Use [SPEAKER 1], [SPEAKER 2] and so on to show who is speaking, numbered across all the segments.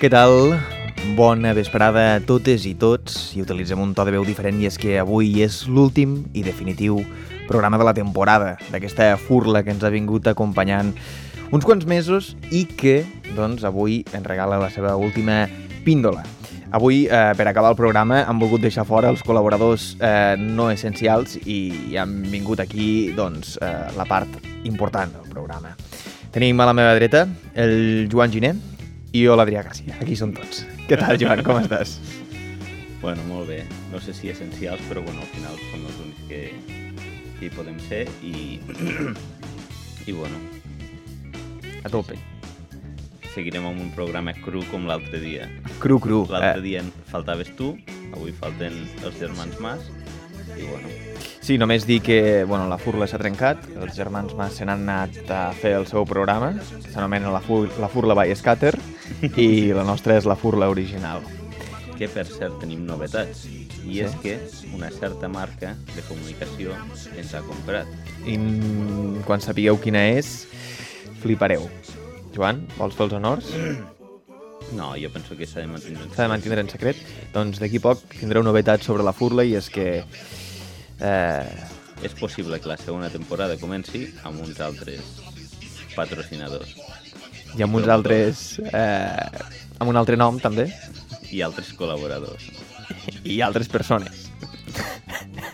[SPEAKER 1] Què tal? Bona vesprada a totes i tots. I utilitzem un to de veu diferent i és que avui és l'últim i definitiu programa de la temporada, d'aquesta furla que ens ha vingut acompanyant uns quants mesos i que, doncs, avui ens regala la seva última píndola. Avui, eh, per acabar el programa, han volgut deixar fora els col·laboradors eh, no essencials i han vingut aquí, doncs, eh, la part important del programa. Tenim a la meva dreta el Joan Giner i jo l'Adrià Garcia. Aquí som tots. Què tal, Joan? Com estàs?
[SPEAKER 2] Bueno, molt bé. No sé si essencials, però bueno, al final som els únics que, que hi podem ser i... I bueno,
[SPEAKER 1] A tope.
[SPEAKER 2] seguirem amb un programa cru com l'altre dia.
[SPEAKER 1] Cru, cru. Eh,
[SPEAKER 2] L'altre dia en faltaves tu, avui falten els germans Mas i bueno,
[SPEAKER 1] Sí, només dir que bueno, la furla s'ha trencat, els germans Mas se n'han anat a fer el seu programa, s'anomena la, fur la furla by Scatter, i la nostra és la furla original.
[SPEAKER 2] que per cert tenim novetats. I
[SPEAKER 1] Sí.
[SPEAKER 2] és que una certa marca de comunicació ens ha comprat.
[SPEAKER 1] I mm, quan sapigueu quina és, flipareu. Joan, vols fer els honors?
[SPEAKER 2] No, jo penso que s'ha de mantenir... en
[SPEAKER 1] S'ha de mantenir en secret? Doncs d'aquí a poc tindreu novetats sobre la furla i és que... Eh,
[SPEAKER 2] És possible que la segona temporada comenci amb uns altres patrocinadors
[SPEAKER 1] i amb uns altres... Eh, amb un altre nom, també,
[SPEAKER 2] i altres col·laboradors.
[SPEAKER 1] i altres persones.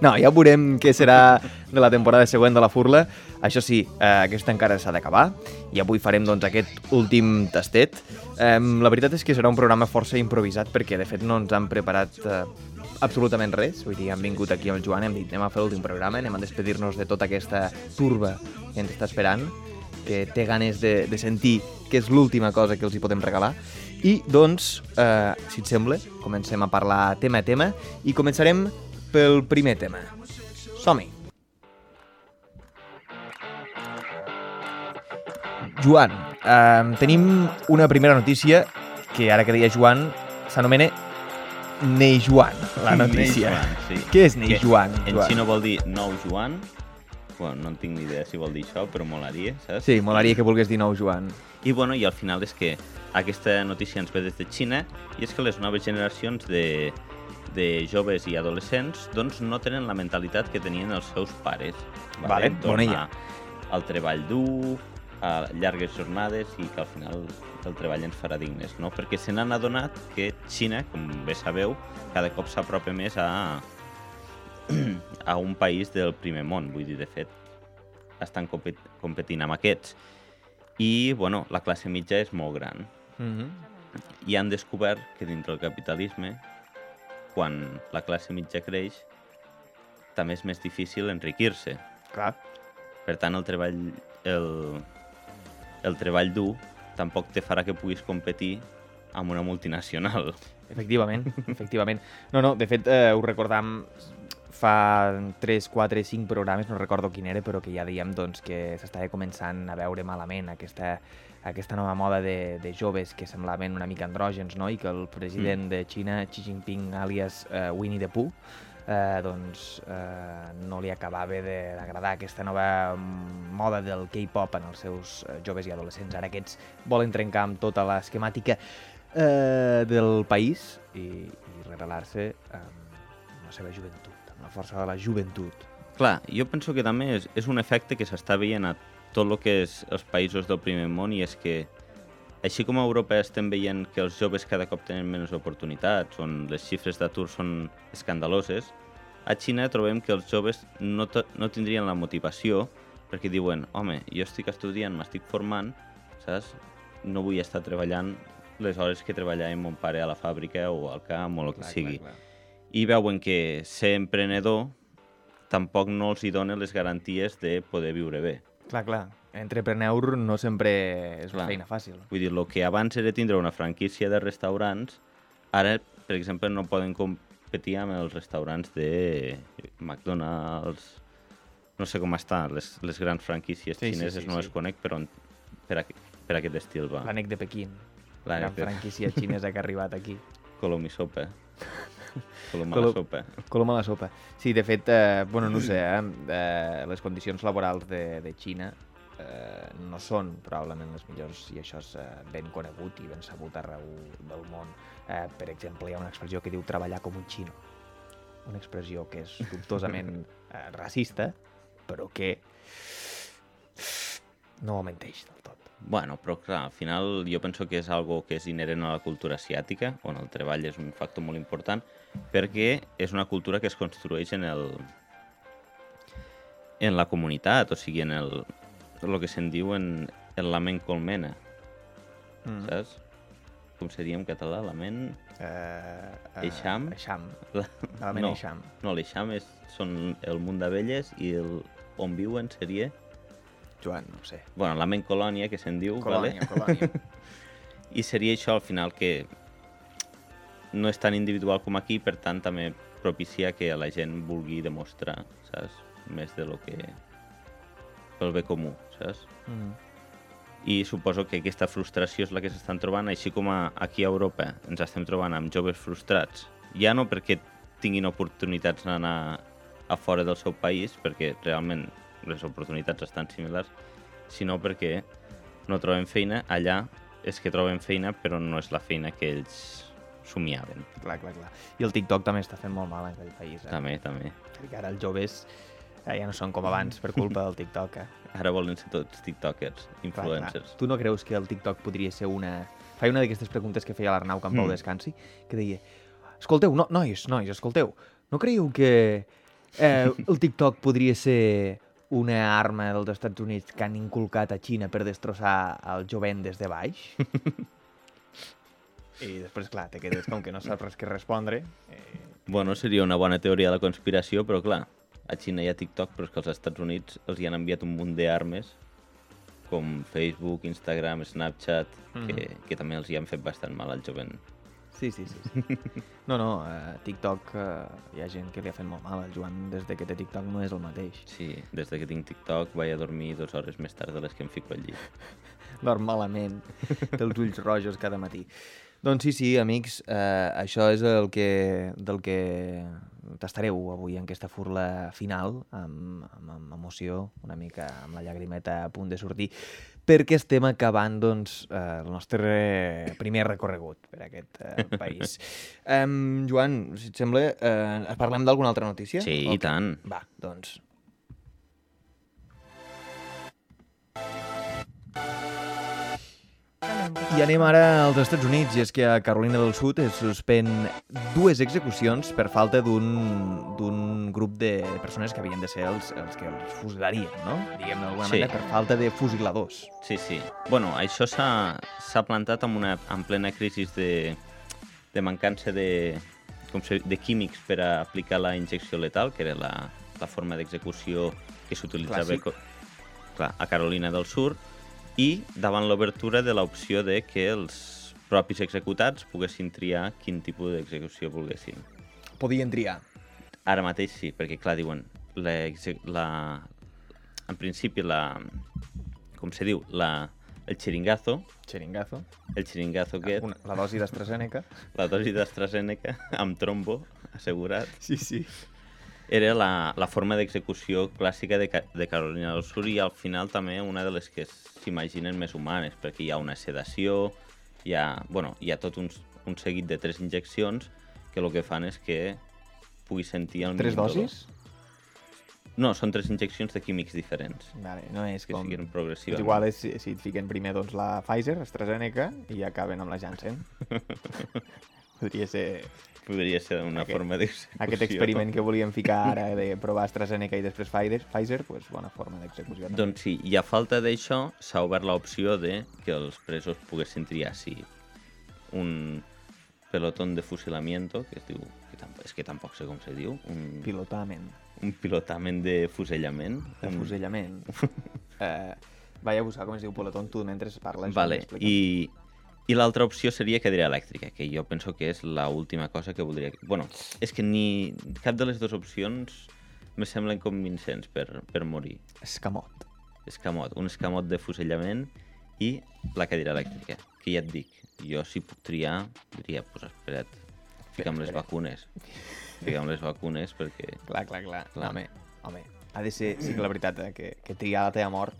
[SPEAKER 1] No, ja veurem què serà de la temporada següent de la Furla. Això sí, eh, aquesta encara s'ha d'acabar i avui farem doncs, aquest últim tastet. Eh, la veritat és que serà un programa força improvisat perquè de fet no ens han preparat eh, absolutament res. Vull dir, han vingut aquí el Joan, hem dit anem a fer l'últim programa, anem a despedir-nos de tota aquesta turba que ens està esperant que té ganes de, de sentir que és l'última cosa que els hi podem regalar. I, doncs, eh, si et sembla, comencem a parlar tema a tema i començarem pel primer tema. Som-hi! Joan, eh, tenim una primera notícia que ara que deia Joan s'anomena Nei Joan, la notícia.
[SPEAKER 2] Nei Joan, sí.
[SPEAKER 1] Què és Nei
[SPEAKER 2] Que
[SPEAKER 1] Joan?
[SPEAKER 2] En
[SPEAKER 1] Joan?
[SPEAKER 2] xino vol dir nou Joan. Bueno, no en tinc ni idea si vol dir això, però molaria, saps?
[SPEAKER 1] Sí, molaria que volgués dir nou Joan.
[SPEAKER 2] I bueno, i al final és que aquesta notícia ens ve des de Xina i és que les noves generacions de, de joves i adolescents doncs no tenen la mentalitat que tenien els seus pares.
[SPEAKER 1] Vale, bona idea.
[SPEAKER 2] Tornar al treball dur, a llargues jornades i que al final el treball ens farà dignes, no? Perquè se n'han adonat que Xina, com bé sabeu, cada cop s'apropa més a, a un país del primer món, vull dir, de fet, estan compet competint amb aquests. I, bueno, la classe mitja és molt gran.
[SPEAKER 1] Mm
[SPEAKER 2] Mhm.
[SPEAKER 1] -hmm.
[SPEAKER 2] I han descobert que dintre del capitalisme, quan la classe mitja creix, també és més difícil enriquir-se.
[SPEAKER 1] Clar.
[SPEAKER 2] Per tant, el treball, el, el treball dur tampoc te farà que puguis competir amb una multinacional.
[SPEAKER 1] Efectivament, efectivament. No, no, de fet, eh, ho recordam fa 3, 4, 5 programes, no recordo quin era, però que ja dèiem doncs, que s'estava començant a veure malament aquesta, aquesta nova moda de, de joves que semblaven una mica andrògens, no? I que el president
[SPEAKER 2] Mm.
[SPEAKER 1] de Xina, Xi Jinping, alias eh, Winnie the Pooh, eh, doncs eh, no li acabava de- d'agradar aquesta nova mm, moda del K-pop en els seus eh, joves i adolescents. Ara aquests volen trencar amb tota l'esquemàtica eh, del país i, i revelar-se amb la seva joventut, amb la força de la joventut.
[SPEAKER 2] Clar, jo penso que també és, és un efecte que s'està veient a tot el que és els països del primer món i és que així com a Europa estem veient que els joves cada cop tenen menys oportunitats, on les xifres d'atur són escandaloses, a Xina trobem que els joves no, to- no tindrien la motivació perquè diuen, home, jo estic estudiant, m'estic formant, saps? No vull estar treballant les hores que treballava mon pare a la fàbrica o al camp o el que sigui i veuen que ser emprenedor tampoc no els hi dona les garanties de poder viure bé.
[SPEAKER 1] Clar, clar. Entrepreneur no sempre és una
[SPEAKER 2] Clar.
[SPEAKER 1] feina fàcil.
[SPEAKER 2] Vull dir, el que abans era tindre una franquícia de restaurants, ara, per exemple, no poden competir amb els restaurants de McDonald's, no sé com estan, les, les grans franquícies
[SPEAKER 1] Sí, sí,
[SPEAKER 2] sí, xineses
[SPEAKER 1] sí,
[SPEAKER 2] sí, sí, no
[SPEAKER 1] sí.
[SPEAKER 2] les conec, però en- per, aqu per aquest estil va.
[SPEAKER 1] L'anec de Pequín, la
[SPEAKER 2] La
[SPEAKER 1] gran
[SPEAKER 2] de-
[SPEAKER 1] franquícia xinesa que ha arribat aquí.
[SPEAKER 2] Colomisopa.
[SPEAKER 1] Colom-
[SPEAKER 2] Colomasopa.
[SPEAKER 1] Coloma la eh, sopa. Sí, de fet, eh, bueno, no ho sé, eh, eh, les condicions laborals de, de Xina eh, no són probablement les millors i això és eh, ben conegut i ben sabut arreu del món. Eh, per exemple, hi ha una expressió que diu treballar com un xino, una expressió que és dubtosament eh, racista, però que no menteix del tot.
[SPEAKER 2] Bueno, però clar, al final jo penso que és algo que és inherent a la cultura asiàtica, on el treball és un factor molt important, perquè és una cultura que es construeix en el en la comunitat, o sigui, en el, el que se'n diu en, en la ment colmena, mm.
[SPEAKER 1] Mm.
[SPEAKER 2] saps? Com seria en català? La ment...
[SPEAKER 1] Eh,
[SPEAKER 2] Eixam?
[SPEAKER 1] Eixam.
[SPEAKER 2] La,
[SPEAKER 1] Element no. Eixam.
[SPEAKER 2] no l'eixam és, són el munt d'abelles i el, on viuen seria...
[SPEAKER 1] Joan, no ho sé.
[SPEAKER 2] bueno, la ment colònia, que se'n diu,
[SPEAKER 1] Colònia,
[SPEAKER 2] vale?
[SPEAKER 1] colònia.
[SPEAKER 2] i seria això al final que no és tan individual com aquí, per tant també propicia que la gent vulgui demostrar, saps? Més de lo que... pel bé comú, saps?
[SPEAKER 1] Mm.
[SPEAKER 2] I suposo que aquesta frustració és la que s'estan trobant, així com a, aquí a Europa ens estem trobant amb joves frustrats. Ja no perquè tinguin oportunitats d'anar a fora del seu país, perquè realment les oportunitats estan similars, sinó perquè no troben feina allà, és que troben feina, però no és la feina que ells somiaven.
[SPEAKER 1] Clar, clar, clar. I el TikTok també està fent molt mal en aquell país. Eh?
[SPEAKER 2] També, també.
[SPEAKER 1] Perquè ara els joves eh, ja no són com abans per culpa del TikTok. Eh?
[SPEAKER 2] Ara volen ser tots tiktokers,
[SPEAKER 1] Clar,
[SPEAKER 2] influencers.
[SPEAKER 1] Tu no creus que el TikTok podria ser una... Faia una d'aquestes preguntes que feia l'Arnau Campau
[SPEAKER 2] Mm.
[SPEAKER 1] mm. Descansi, que deia, escolteu, no, nois, nois, escolteu, no creieu que eh, el TikTok podria ser una arma dels Estats Units que han inculcat a Xina per destrossar el jovent des de baix? I després, clar, te quedes com que no saps res que respondre. Eh,
[SPEAKER 2] Bueno, seria una bona teoria de la conspiració, però clar, a Xina hi ha TikTok, però és que als Estats Units els hi han enviat un munt d'armes, com Facebook, Instagram, Snapchat, mm
[SPEAKER 1] Mhm.
[SPEAKER 2] -hmm. que, que també els hi han fet bastant mal al jovent.
[SPEAKER 1] Sí, sí, sí. sí. No, no, eh, TikTok, eh, hi ha gent que li ha fet molt mal. El Joan, des de que té TikTok, no és el mateix.
[SPEAKER 2] Sí, des de que tinc TikTok vaig a dormir dues hores més tard de les que em fico al llit.
[SPEAKER 1] Dorm malament, té els ulls rojos cada matí. Doncs sí, sí, amics, eh, això és el que, del que tastareu avui en aquesta furla final, amb, amb, amb emoció, una mica amb la llagrimeta a punt de sortir, perquè estem acabant doncs, eh, el nostre primer recorregut per aquest eh, país. Um, Joan, si et sembla, eh, parlem d'alguna altra notícia?
[SPEAKER 2] Sí,
[SPEAKER 1] O
[SPEAKER 2] i tant.
[SPEAKER 1] va, doncs... I anem ara als Estats Units, i és que a Carolina del Sud es suspèn dues execucions per falta d'un d'un grup de persones que havien de ser els, els que els fusilarien, no? Diguem-ne d'alguna
[SPEAKER 2] Sí.
[SPEAKER 1] manera, per falta de fusiladors.
[SPEAKER 2] Sí, sí. Bueno, això s'ha s'ha plantat en, una, en plena crisi de, de mancança de, com se, de químics per a aplicar la injecció letal, que era la, la forma d'execució que s'utilitzava
[SPEAKER 1] Clàssic.
[SPEAKER 2] co- clar, a Carolina del Sur, i davant l'obertura de l'opció de que els propis executats poguessin triar quin tipus d'execució volguessin.
[SPEAKER 1] Podien triar.
[SPEAKER 2] Ara mateix sí, perquè clar, diuen la, exe- la, en principi la, com se diu, la, el xeringazo,
[SPEAKER 1] Xeringazo.
[SPEAKER 2] el xeringazo aquest,
[SPEAKER 1] Una, la dosi d'AstraZeneca.
[SPEAKER 2] la dosi d'AstraZeneca amb trombo assegurat,
[SPEAKER 1] Sí, sí.
[SPEAKER 2] era la, la forma d'execució clàssica de, Ca- de Carolina del Sur i al final també una de les que s'imaginen més humanes, perquè hi ha una sedació, hi ha, bueno, hi ha tot un, un seguit de tres injeccions que el que fan és que pugui sentir el
[SPEAKER 1] Tres
[SPEAKER 2] mínim dolor.
[SPEAKER 1] dosis?
[SPEAKER 2] No, són tres injeccions de químics diferents,
[SPEAKER 1] Vale, no és
[SPEAKER 2] que
[SPEAKER 1] com...
[SPEAKER 2] siguin
[SPEAKER 1] És
[SPEAKER 2] progressivament.
[SPEAKER 1] igual és si, si et fiquen primer doncs, la Pfizer, AstraZeneca, i acaben amb la Janssen. Podria ser
[SPEAKER 2] Podria ser una
[SPEAKER 1] Aquest-
[SPEAKER 2] forma d'execució.
[SPEAKER 1] aquest experiment que volíem ficar ara de provar AstraZeneca i després Pfizer, Pfizer pues, bona forma d'execució. també.
[SPEAKER 2] Doncs sí, i a falta d'això s'ha obert l'opció de que els presos poguessin triar si un pelotón de fusilamiento, que es diu, que tampoc, és que tampoc sé com se diu, un,
[SPEAKER 1] Pilotament,
[SPEAKER 2] un pilotament de fusellament.
[SPEAKER 1] de
[SPEAKER 2] un-
[SPEAKER 1] fusellament. eh, vaig a buscar com es diu pelotón, tu mentre parles.
[SPEAKER 2] Vale,
[SPEAKER 1] m'expliques.
[SPEAKER 2] i, i l'altra opció seria cadira elèctrica, que jo penso que és la última cosa que voldria... Bueno, és que ni cap de les dues opcions me semblen convincents per, per morir.
[SPEAKER 1] Escamot.
[SPEAKER 2] Escamot, un escamot de fusellament i la cadira elèctrica, que ja et dic, jo si puc triar, diria, pues espera't, fica'm les
[SPEAKER 1] espera't.
[SPEAKER 2] vacunes. Fica'm les vacunes perquè...
[SPEAKER 1] Clar, clar, clar.
[SPEAKER 2] Clar.
[SPEAKER 1] Home, home, ha de ser, sí que la veritat, eh, que, que triar la teva mort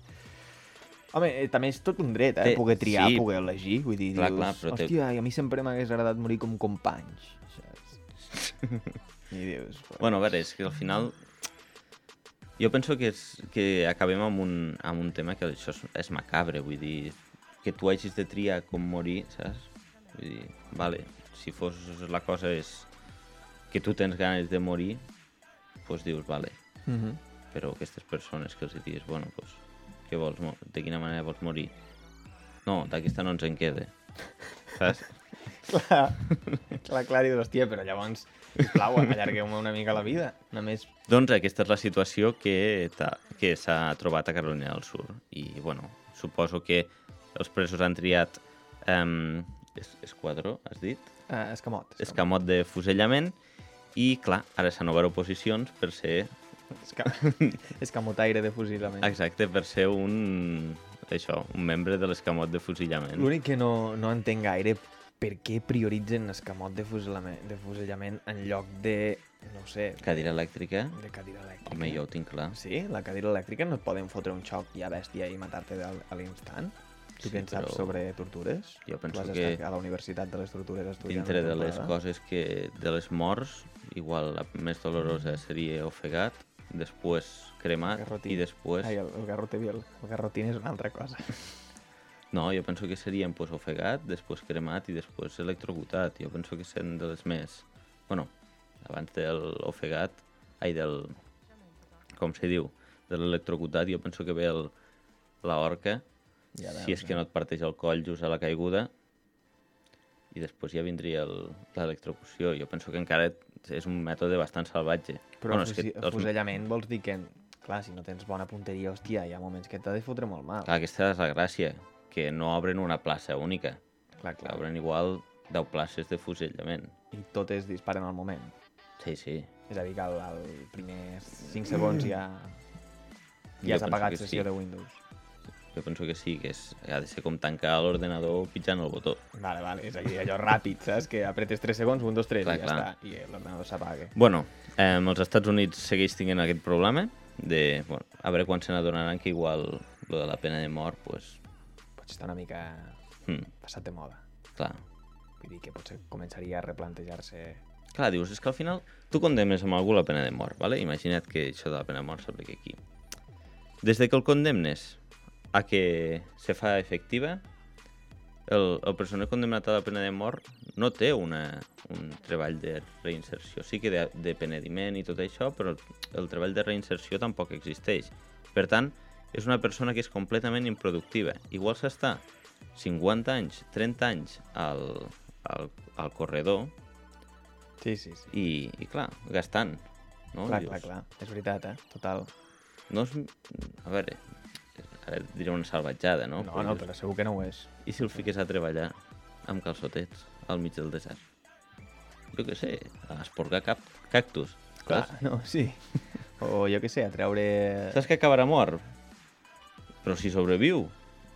[SPEAKER 1] Home, eh, també és tot un dret, eh?
[SPEAKER 2] Té-
[SPEAKER 1] Poder triar,
[SPEAKER 2] sí.
[SPEAKER 1] poder elegir. Vull dir,
[SPEAKER 2] Clar,
[SPEAKER 1] dius,
[SPEAKER 2] clar, però té-
[SPEAKER 1] hòstia, i a mi sempre m'hagués agradat morir com companys, saps? I dius...
[SPEAKER 2] Bueno, a veure, és que al final... Jo penso que, és, que acabem amb un, amb un tema que això és, és macabre, vull dir, que tu hagis de triar com morir, saps? Vull dir, vale, si fos la cosa és que tu tens ganes de morir, doncs dius, vale,
[SPEAKER 1] Mhm.
[SPEAKER 2] però aquestes persones que els hi dius, bueno, doncs, què vols, mo- de quina manera vols morir? No, d'aquesta no ens en queda, saps?
[SPEAKER 1] Clar, clar, clar, i dius, hòstia, però llavors, sisplau, allargueu-me una mica la vida. Només...
[SPEAKER 2] Doncs aquesta és la situació que t'ha- que s'ha trobat a Carolina del Sur. I, bueno, suposo que els presos han triat um, esquadró, has dit?
[SPEAKER 1] Uh, escamot.
[SPEAKER 2] Escamot de fusellament. I, clar, ara s'han obert oposicions per ser...
[SPEAKER 1] Escamot. Escamotaire de fusilament.
[SPEAKER 2] Exacte, per ser un... Això, un membre de l'escamot de fusellament.
[SPEAKER 1] L'únic que no, no entenc gaire per què prioritzen escamot de fusellament, de fusellament en lloc de, no ho sé,
[SPEAKER 2] Cadira elèctrica?
[SPEAKER 1] de cadira elèctrica.
[SPEAKER 2] Home, jo ho tinc clar.
[SPEAKER 1] Sí, la cadira elèctrica no et poden fotre un xoc ja bèstia i matar-te del- a l'instant. Tu
[SPEAKER 2] Sí,
[SPEAKER 1] sí, penses
[SPEAKER 2] però-
[SPEAKER 1] però... sobre tortures?
[SPEAKER 2] Jo penso
[SPEAKER 1] tu vas
[SPEAKER 2] que
[SPEAKER 1] estar a la Universitat de les Tortures estudiant...
[SPEAKER 2] Dintre
[SPEAKER 1] una
[SPEAKER 2] de les
[SPEAKER 1] temporada.
[SPEAKER 2] coses que... de les morts, igual la més dolorosa seria ofegat, després cremat
[SPEAKER 1] Garrotí.
[SPEAKER 2] i després...
[SPEAKER 1] Ai, el, el garrote viol. El garrotín és una altra cosa.
[SPEAKER 2] No, jo penso que serien pues, ofegat, després cremat i després electrocutat. Jo penso que sent de les més... bueno, abans del ofegat, ai, del... com se diu? De l'electrocutat, jo penso que ve el, la horca,
[SPEAKER 1] Ja
[SPEAKER 2] si és que no et parteix el coll just a la caiguda, i després ja vindria el- l'electrocució. Jo penso que encara és un mètode bastant salvatge.
[SPEAKER 1] Però bueno,
[SPEAKER 2] és
[SPEAKER 1] fusi...
[SPEAKER 2] els-
[SPEAKER 1] fusellament vols dir que, clar, si no tens bona punteria, hòstia, hi ha moments que t'ha de fotre molt mal.
[SPEAKER 2] clar, aquesta és la gràcia, que no obren una plaça única.
[SPEAKER 1] clar,
[SPEAKER 2] Clar, obren igual 10 places de fusellament.
[SPEAKER 1] I totes disparen al moment.
[SPEAKER 2] Sí, sí.
[SPEAKER 1] És a dir, que al, al primer 5 segons ja,
[SPEAKER 2] Jo
[SPEAKER 1] ja has
[SPEAKER 2] penso
[SPEAKER 1] apagat
[SPEAKER 2] que sí.
[SPEAKER 1] sessió de Windows.
[SPEAKER 2] Jo penso que sí, que és, ha de ser com tancar l'ordenador pitjant el botó.
[SPEAKER 1] Vale, vale, és allò, allò ràpid, saps? Que apretes 3 segons, 1, 2, 3,
[SPEAKER 2] Clar,
[SPEAKER 1] i ja
[SPEAKER 2] clar.
[SPEAKER 1] està. I l'ordenador s'apaga.
[SPEAKER 2] Bueno, eh, els Estats Units segueix tinguent aquest problema de, bueno, a veure quan se n'adonaran que igual lo de la pena de mort, pues,
[SPEAKER 1] Potser està una mica
[SPEAKER 2] hm,
[SPEAKER 1] passat de moda.
[SPEAKER 2] clar.
[SPEAKER 1] Vull dir que potser començaria a replantejar-se...
[SPEAKER 2] Clar, dius, és que al final tu condemnes amb algú la pena de mort, vale? imagina't que això de la pena de mort s'aplica aquí. Des de que el condemnes a que se fa efectiva, el, el personer condemnat a la pena de mort no té una, un treball de reinserció. Sí que de, de penediment i tot això, però el, el treball de reinserció tampoc existeix. Per tant, és una persona que és completament improductiva. Igual s'està 50 anys, 30 anys al, al, al corredor,
[SPEAKER 1] Sí, sí, sí.
[SPEAKER 2] i, i clar, gastant. No?
[SPEAKER 1] Clar,
[SPEAKER 2] Dius,
[SPEAKER 1] clar, clar. És veritat, eh? Total.
[SPEAKER 2] No és... A veure, ara et diré una salvatjada, no?
[SPEAKER 1] No,
[SPEAKER 2] Però
[SPEAKER 1] no,
[SPEAKER 2] dius,
[SPEAKER 1] però segur que no ho és.
[SPEAKER 2] I si el fiques a treballar amb calçotets al mig del desert? Jo què sé, a esporgar cap, cactus.
[SPEAKER 1] Clar,
[SPEAKER 2] Saps?
[SPEAKER 1] no, sí. O jo què sé, a treure...
[SPEAKER 2] Saps que acabarà mort? Però si sobreviu,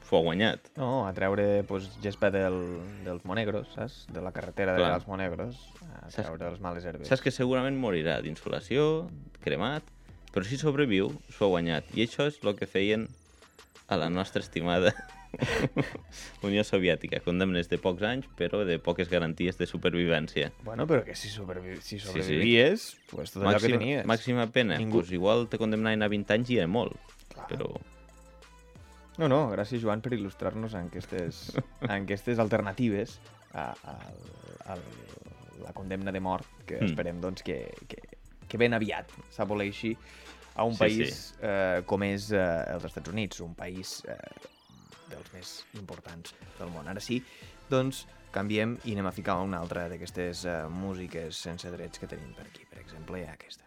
[SPEAKER 2] s'ho ha guanyat.
[SPEAKER 1] No, a treure pues, gespa del, dels monegros, saps? De la carretera de
[SPEAKER 2] Clar.
[SPEAKER 1] dels monegros. A
[SPEAKER 2] Saps-
[SPEAKER 1] treure les males herbes.
[SPEAKER 2] Saps que segurament morirà d'insolació, cremat, però si sobreviu, s'ho ha guanyat. I això és el que feien a la nostra estimada Unió Soviètica, condemnes de pocs anys, però de poques garanties de supervivència.
[SPEAKER 1] Bueno, però que si, sobrevi... si
[SPEAKER 2] sí.
[SPEAKER 1] sobrevivies, pues tot allò que tenies.
[SPEAKER 2] màxima pena.
[SPEAKER 1] Ningú-
[SPEAKER 2] Ningú... Pues igual te condemnaven a 20 anys i era molt,
[SPEAKER 1] Clar.
[SPEAKER 2] però
[SPEAKER 1] No, no, gràcies, Joan, per il·lustrar-nos en aquestes, en aquestes alternatives a, a, a, la condemna de mort que
[SPEAKER 2] Mm.
[SPEAKER 1] esperem doncs, que, que, que ben aviat s'aboleixi a un
[SPEAKER 2] Sí,
[SPEAKER 1] sí, país sí. Eh, com és eh, els Estats Units, un país eh, dels més importants del món. Ara sí, doncs canviem i anem a ficar una altra d'aquestes eh, músiques sense drets que tenim per aquí, per exemple, aquesta.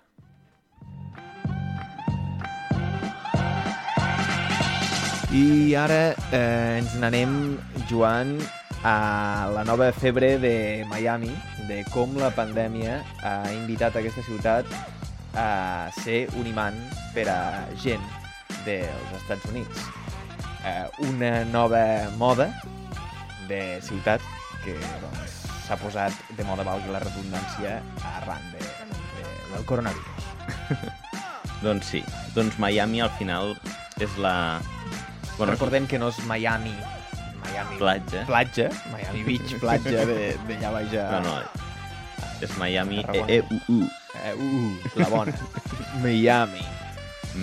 [SPEAKER 1] I ara eh, ens n'anem, Joan, a la nova febre de Miami, de com la pandèmia ha invitat aquesta ciutat a ser un imant per a gent dels Estats Units. Eh, una nova moda de ciutat que doncs, s'ha posat de moda, valgui la redundància, arran de, de, del coronavirus.
[SPEAKER 2] Doncs sí, doncs Miami al final és la,
[SPEAKER 1] Bueno, Recordem que no és Miami, Miami
[SPEAKER 2] Platja.
[SPEAKER 1] platja Miami Beach, platja de, de allà baix a...
[SPEAKER 2] No, no, és Miami, e,
[SPEAKER 1] Tarragona.
[SPEAKER 2] e, u, u,
[SPEAKER 1] Eh, uh, la bona. Miami.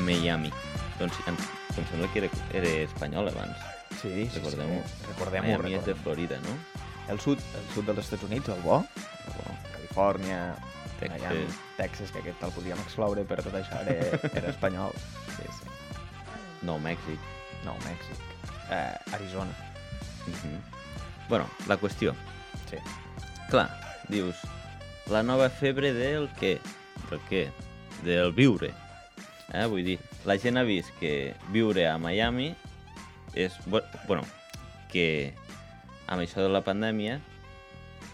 [SPEAKER 2] Miami. Doncs em, em sembla que era, era espanyol abans.
[SPEAKER 1] Sí, sí,
[SPEAKER 2] Recordem-ho.
[SPEAKER 1] sí. Recordem-ho.
[SPEAKER 2] Miami
[SPEAKER 1] Recordem
[SPEAKER 2] és de Florida, no?
[SPEAKER 1] El sud, el sud dels Estats Units, el bo. El bo. Califòrnia,
[SPEAKER 2] Texas.
[SPEAKER 1] Miami, Texas, que aquest el podríem excloure, però tot això era, era espanyol. Sí, sí.
[SPEAKER 2] Nou Mèxic.
[SPEAKER 1] Nou Mèxic. Eh, Arizona.
[SPEAKER 2] Uh Bueno, la qüestió.
[SPEAKER 1] Sí.
[SPEAKER 2] Clar, dius, la nova febre del què? Del què? Del viure. Eh? Vull dir, la gent ha vist que viure a Miami és... bu- Bueno, que amb això de la pandèmia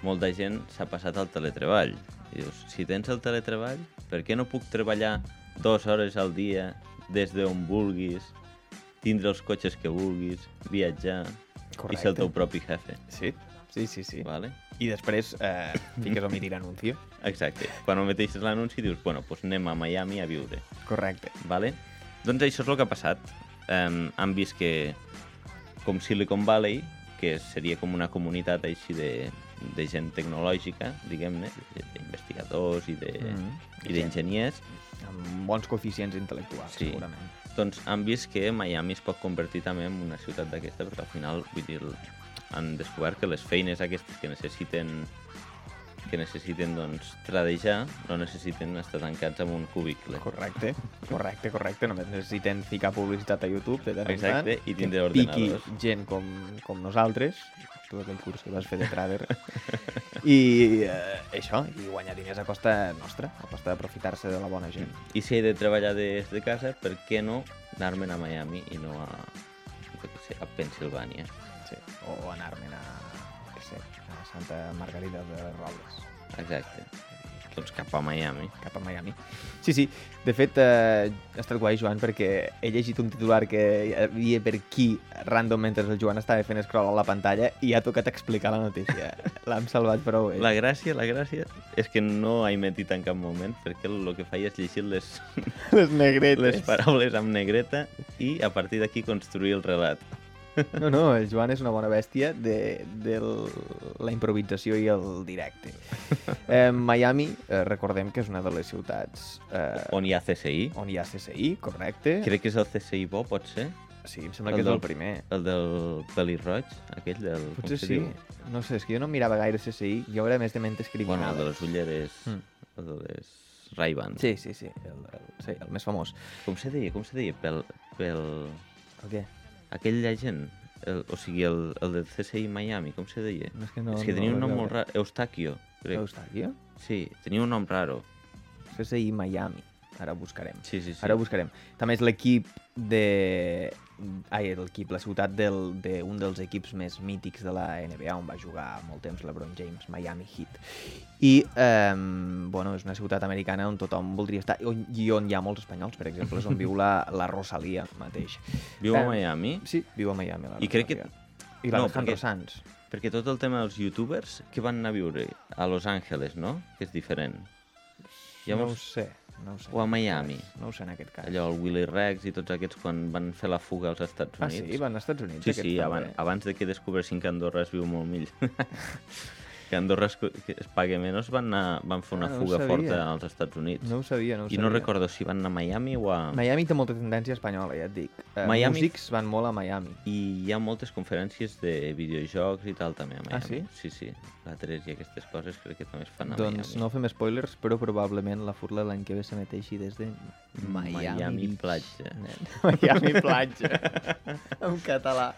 [SPEAKER 2] molta gent s'ha passat al teletreball. I dius, si tens el teletreball, per què no puc treballar dues hores al dia des d'on vulguis, tindre els cotxes que vulguis, viatjar i ser
[SPEAKER 1] Correcte.
[SPEAKER 2] el teu propi jefe?
[SPEAKER 1] Sí? Sí, sí, sí.
[SPEAKER 2] Vale?
[SPEAKER 1] I després eh, fiques el mitir anuncio.
[SPEAKER 2] Exacte. Quan ometeixes l'anunci dius, bueno, doncs anem a Miami a viure.
[SPEAKER 1] Correcte.
[SPEAKER 2] Vale? Doncs això és el que ha passat. Um, han vist que com Silicon Valley, que seria com una comunitat així de, de gent tecnològica, diguem-ne, de- d'investigadors i de-
[SPEAKER 1] Mhm.
[SPEAKER 2] i d'enginyers,
[SPEAKER 1] Amb bons coeficients intel·lectuals,
[SPEAKER 2] Sí.
[SPEAKER 1] segurament.
[SPEAKER 2] doncs han vist que Miami es pot convertir també en una ciutat d'aquesta, perquè al final vull dir, han descobert que les feines aquestes que necessiten que necessiten doncs, tradejar, no necessiten estar tancats en un cubicle.
[SPEAKER 1] Correcte, correcte, correcte. Només necessiten ficar publicitat a YouTube de tant en
[SPEAKER 2] Exacte,
[SPEAKER 1] tant, que
[SPEAKER 2] i tindre
[SPEAKER 1] piqui
[SPEAKER 2] ordenadors.
[SPEAKER 1] gent com, com nosaltres, tu aquell curs que vas fer de trader, i eh, això, i guanyar diners a costa nostra, a costa d'aprofitar-se de la bona gent.
[SPEAKER 2] I si he de treballar des de casa, per què no anar-me'n a Miami i no a, jo què sé, a Pensilvània?
[SPEAKER 1] Sí. O anar-me'n a, què sé, a Santa Margarida de les Robles.
[SPEAKER 2] Exacte. Doncs cap a Miami.
[SPEAKER 1] cap a Miami. Sí, sí, de fet eh, ha estat guai, Joan, perquè he llegit un titular que hi havia per aquí random mentre el Joan estava fent scroll a la pantalla i ha tocat explicar la notícia. L'hem salvat prou bé.
[SPEAKER 2] La gràcia, la gràcia, és que no ha emetit en cap moment, perquè el que feia és llegir les,
[SPEAKER 1] Les negretes.
[SPEAKER 2] les paraules amb negreta i a partir d'aquí construir el relat.
[SPEAKER 1] No, no, el Joan és una bona bèstia de, de l- la improvisació i el directe. Eh, Miami, eh, recordem que és una de les ciutats eh,
[SPEAKER 2] On hi ha CSI.
[SPEAKER 1] on hi ha CSI, correcte.
[SPEAKER 2] Crec que és el CSI bo, pot ser?
[SPEAKER 1] Sí, em sembla
[SPEAKER 2] El
[SPEAKER 1] que és
[SPEAKER 2] del-
[SPEAKER 1] el primer.
[SPEAKER 2] El del Pelis Roig, aquell del... com
[SPEAKER 1] Potser
[SPEAKER 2] se
[SPEAKER 1] sí.
[SPEAKER 2] diu?
[SPEAKER 1] No sé, és que jo no mirava gaire CSI, jo era més de mentes
[SPEAKER 2] Bueno,
[SPEAKER 1] criminals.
[SPEAKER 2] el de les ulleres...
[SPEAKER 1] Mm.
[SPEAKER 2] El de les Ray-Ban.
[SPEAKER 1] Sí, sí, sí, el, el, sí, el més famós.
[SPEAKER 2] Com se deia? Com se deia? Pel... pel...
[SPEAKER 1] El què?
[SPEAKER 2] Aquell agent, el, o sigui, el, el del CSI Miami, com se deia?
[SPEAKER 1] No, és que no-
[SPEAKER 2] és que
[SPEAKER 1] no
[SPEAKER 2] tenia un
[SPEAKER 1] vaig
[SPEAKER 2] nom
[SPEAKER 1] veure.
[SPEAKER 2] molt raro. Eustaquio, crec.
[SPEAKER 1] Eustàquia?
[SPEAKER 2] Sí, tenia un nom raro.
[SPEAKER 1] CSI Miami. Ara ho buscarem.
[SPEAKER 2] Sí, sí, sí.
[SPEAKER 1] Ara ho buscarem. També és l'equip de... Ai, l'equip, la ciutat d'un de un dels equips més mítics de la NBA, on va jugar molt temps l'Ebron James, Miami Heat. I, eh, bueno, és una ciutat americana on tothom voldria estar, i on, i on hi ha molts espanyols, per exemple, és on viu la, la Rosalia mateix.
[SPEAKER 2] Viu a
[SPEAKER 1] Eh,
[SPEAKER 2] Miami,
[SPEAKER 1] Sí, viu a Miami. La
[SPEAKER 2] I crec que-
[SPEAKER 1] Rosalia. I l'Alejandro
[SPEAKER 2] perquè-
[SPEAKER 1] Sanz.
[SPEAKER 2] perquè tot el tema dels youtubers que van anar a viure a Los Angeles, no? Que és diferent.
[SPEAKER 1] no ho
[SPEAKER 2] Llavors,
[SPEAKER 1] sé. No ho sé.
[SPEAKER 2] o a Miami.
[SPEAKER 1] No ho sé en aquest cas.
[SPEAKER 2] allò, el Willy Rex i tots aquests quan van fer la fuga als Estats
[SPEAKER 1] Ah,
[SPEAKER 2] Units.
[SPEAKER 1] sí? Van als Estats Units?
[SPEAKER 2] Sí,
[SPEAKER 1] aquests
[SPEAKER 2] sí,
[SPEAKER 1] també.
[SPEAKER 2] abans, abans de que descobressin que Andorra es viu molt millor. que Andorra es, que es paga menys, van, anar, van fer una
[SPEAKER 1] Ah, no ho
[SPEAKER 2] fuga
[SPEAKER 1] sabia.
[SPEAKER 2] forta als Estats Units.
[SPEAKER 1] No ho sabia, no ho
[SPEAKER 2] I
[SPEAKER 1] sabia.
[SPEAKER 2] no recordo si van anar a Miami o a...
[SPEAKER 1] Miami té molta tendència espanyola, ja et dic. Eh,
[SPEAKER 2] Miami-
[SPEAKER 1] Músics van molt a Miami.
[SPEAKER 2] I hi ha moltes conferències de videojocs i tal també a Miami.
[SPEAKER 1] Ah, sí?
[SPEAKER 2] Sí, sí. La 3 i aquestes coses crec que també es fan a
[SPEAKER 1] Doncs no
[SPEAKER 2] Miami.
[SPEAKER 1] fem spoilers, però probablement la furla l'any que ve s'emeteixi des de Miami,
[SPEAKER 2] Miami
[SPEAKER 1] Beach.
[SPEAKER 2] Platja.
[SPEAKER 1] nen. Miami Platja. en català.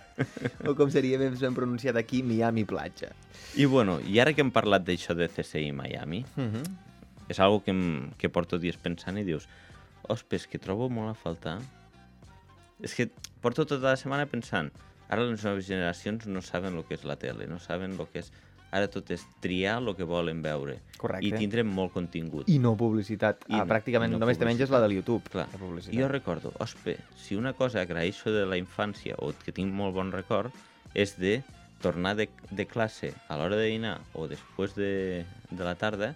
[SPEAKER 1] O com seria més ben pronunciat aquí, Miami Platja.
[SPEAKER 2] I bueno, i ara que hem parlat d'això de CSI Miami,
[SPEAKER 1] Uh -huh.
[SPEAKER 2] és algo que, em- que porto dies pensant i dius ospes, que trobo molt a faltar és que porto tota la setmana pensant ara les noves generacions no saben el que és la tele no saben el que és ara tot és triar el que volen veure
[SPEAKER 1] Correcte.
[SPEAKER 2] i tindrem molt contingut
[SPEAKER 1] I no publicitat.
[SPEAKER 2] I
[SPEAKER 1] ah,
[SPEAKER 2] no-
[SPEAKER 1] pràcticament
[SPEAKER 2] i no
[SPEAKER 1] només te menges la de YouTube.
[SPEAKER 2] Clar,
[SPEAKER 1] La publicitat.
[SPEAKER 2] jo recordo, ospe, si una cosa agraeixo de la infància o que tinc molt bon record és de tornar de, de classe a l'hora de dinar o després de, de la tarda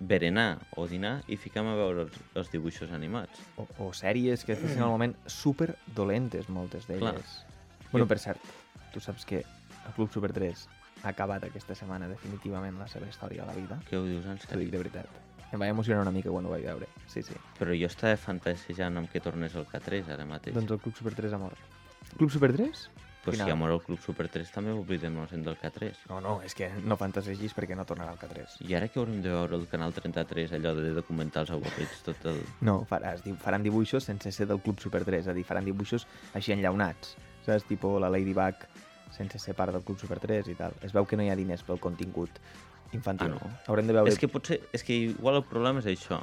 [SPEAKER 2] berenar o dinar i ficàvem a veure els, els dibuixos animats.
[SPEAKER 1] O, o sèries que fessin al moment super dolentes, moltes d'elles. Bueno, per cert, tu saps que el Club Super 3 ha acabat aquesta setmana definitivament la seva història a la vida?
[SPEAKER 2] Què ho dius en
[SPEAKER 1] T'ho dic
[SPEAKER 2] sèrio?
[SPEAKER 1] de veritat. Em va emocionar una mica quan ho vaig veure. Sí, sí.
[SPEAKER 2] Però jo estava fantasejant amb que tornés el K3 ara mateix.
[SPEAKER 1] Doncs el Club Super 3 ha mort. Club Super 3?
[SPEAKER 2] pues si
[SPEAKER 1] final.
[SPEAKER 2] ha mort el Club Super 3 també oblidem-nos del K3.
[SPEAKER 1] No, no, és que no fantasegis perquè no tornarà al K3.
[SPEAKER 2] I ara que haurem de veure el canal 33, allò de documentals avorrits, tot el...
[SPEAKER 1] No, faràs, di- faran dibuixos sense ser del Club Super 3, és a dir, faran dibuixos així enllaunats, saps? Tipo la Ladybug sense ser part del Club Super 3 i tal. Es veu que no hi ha diners pel contingut infantil.
[SPEAKER 2] Ah, no.
[SPEAKER 1] Haurem de veure...
[SPEAKER 2] És que potser, és que igual el problema és això,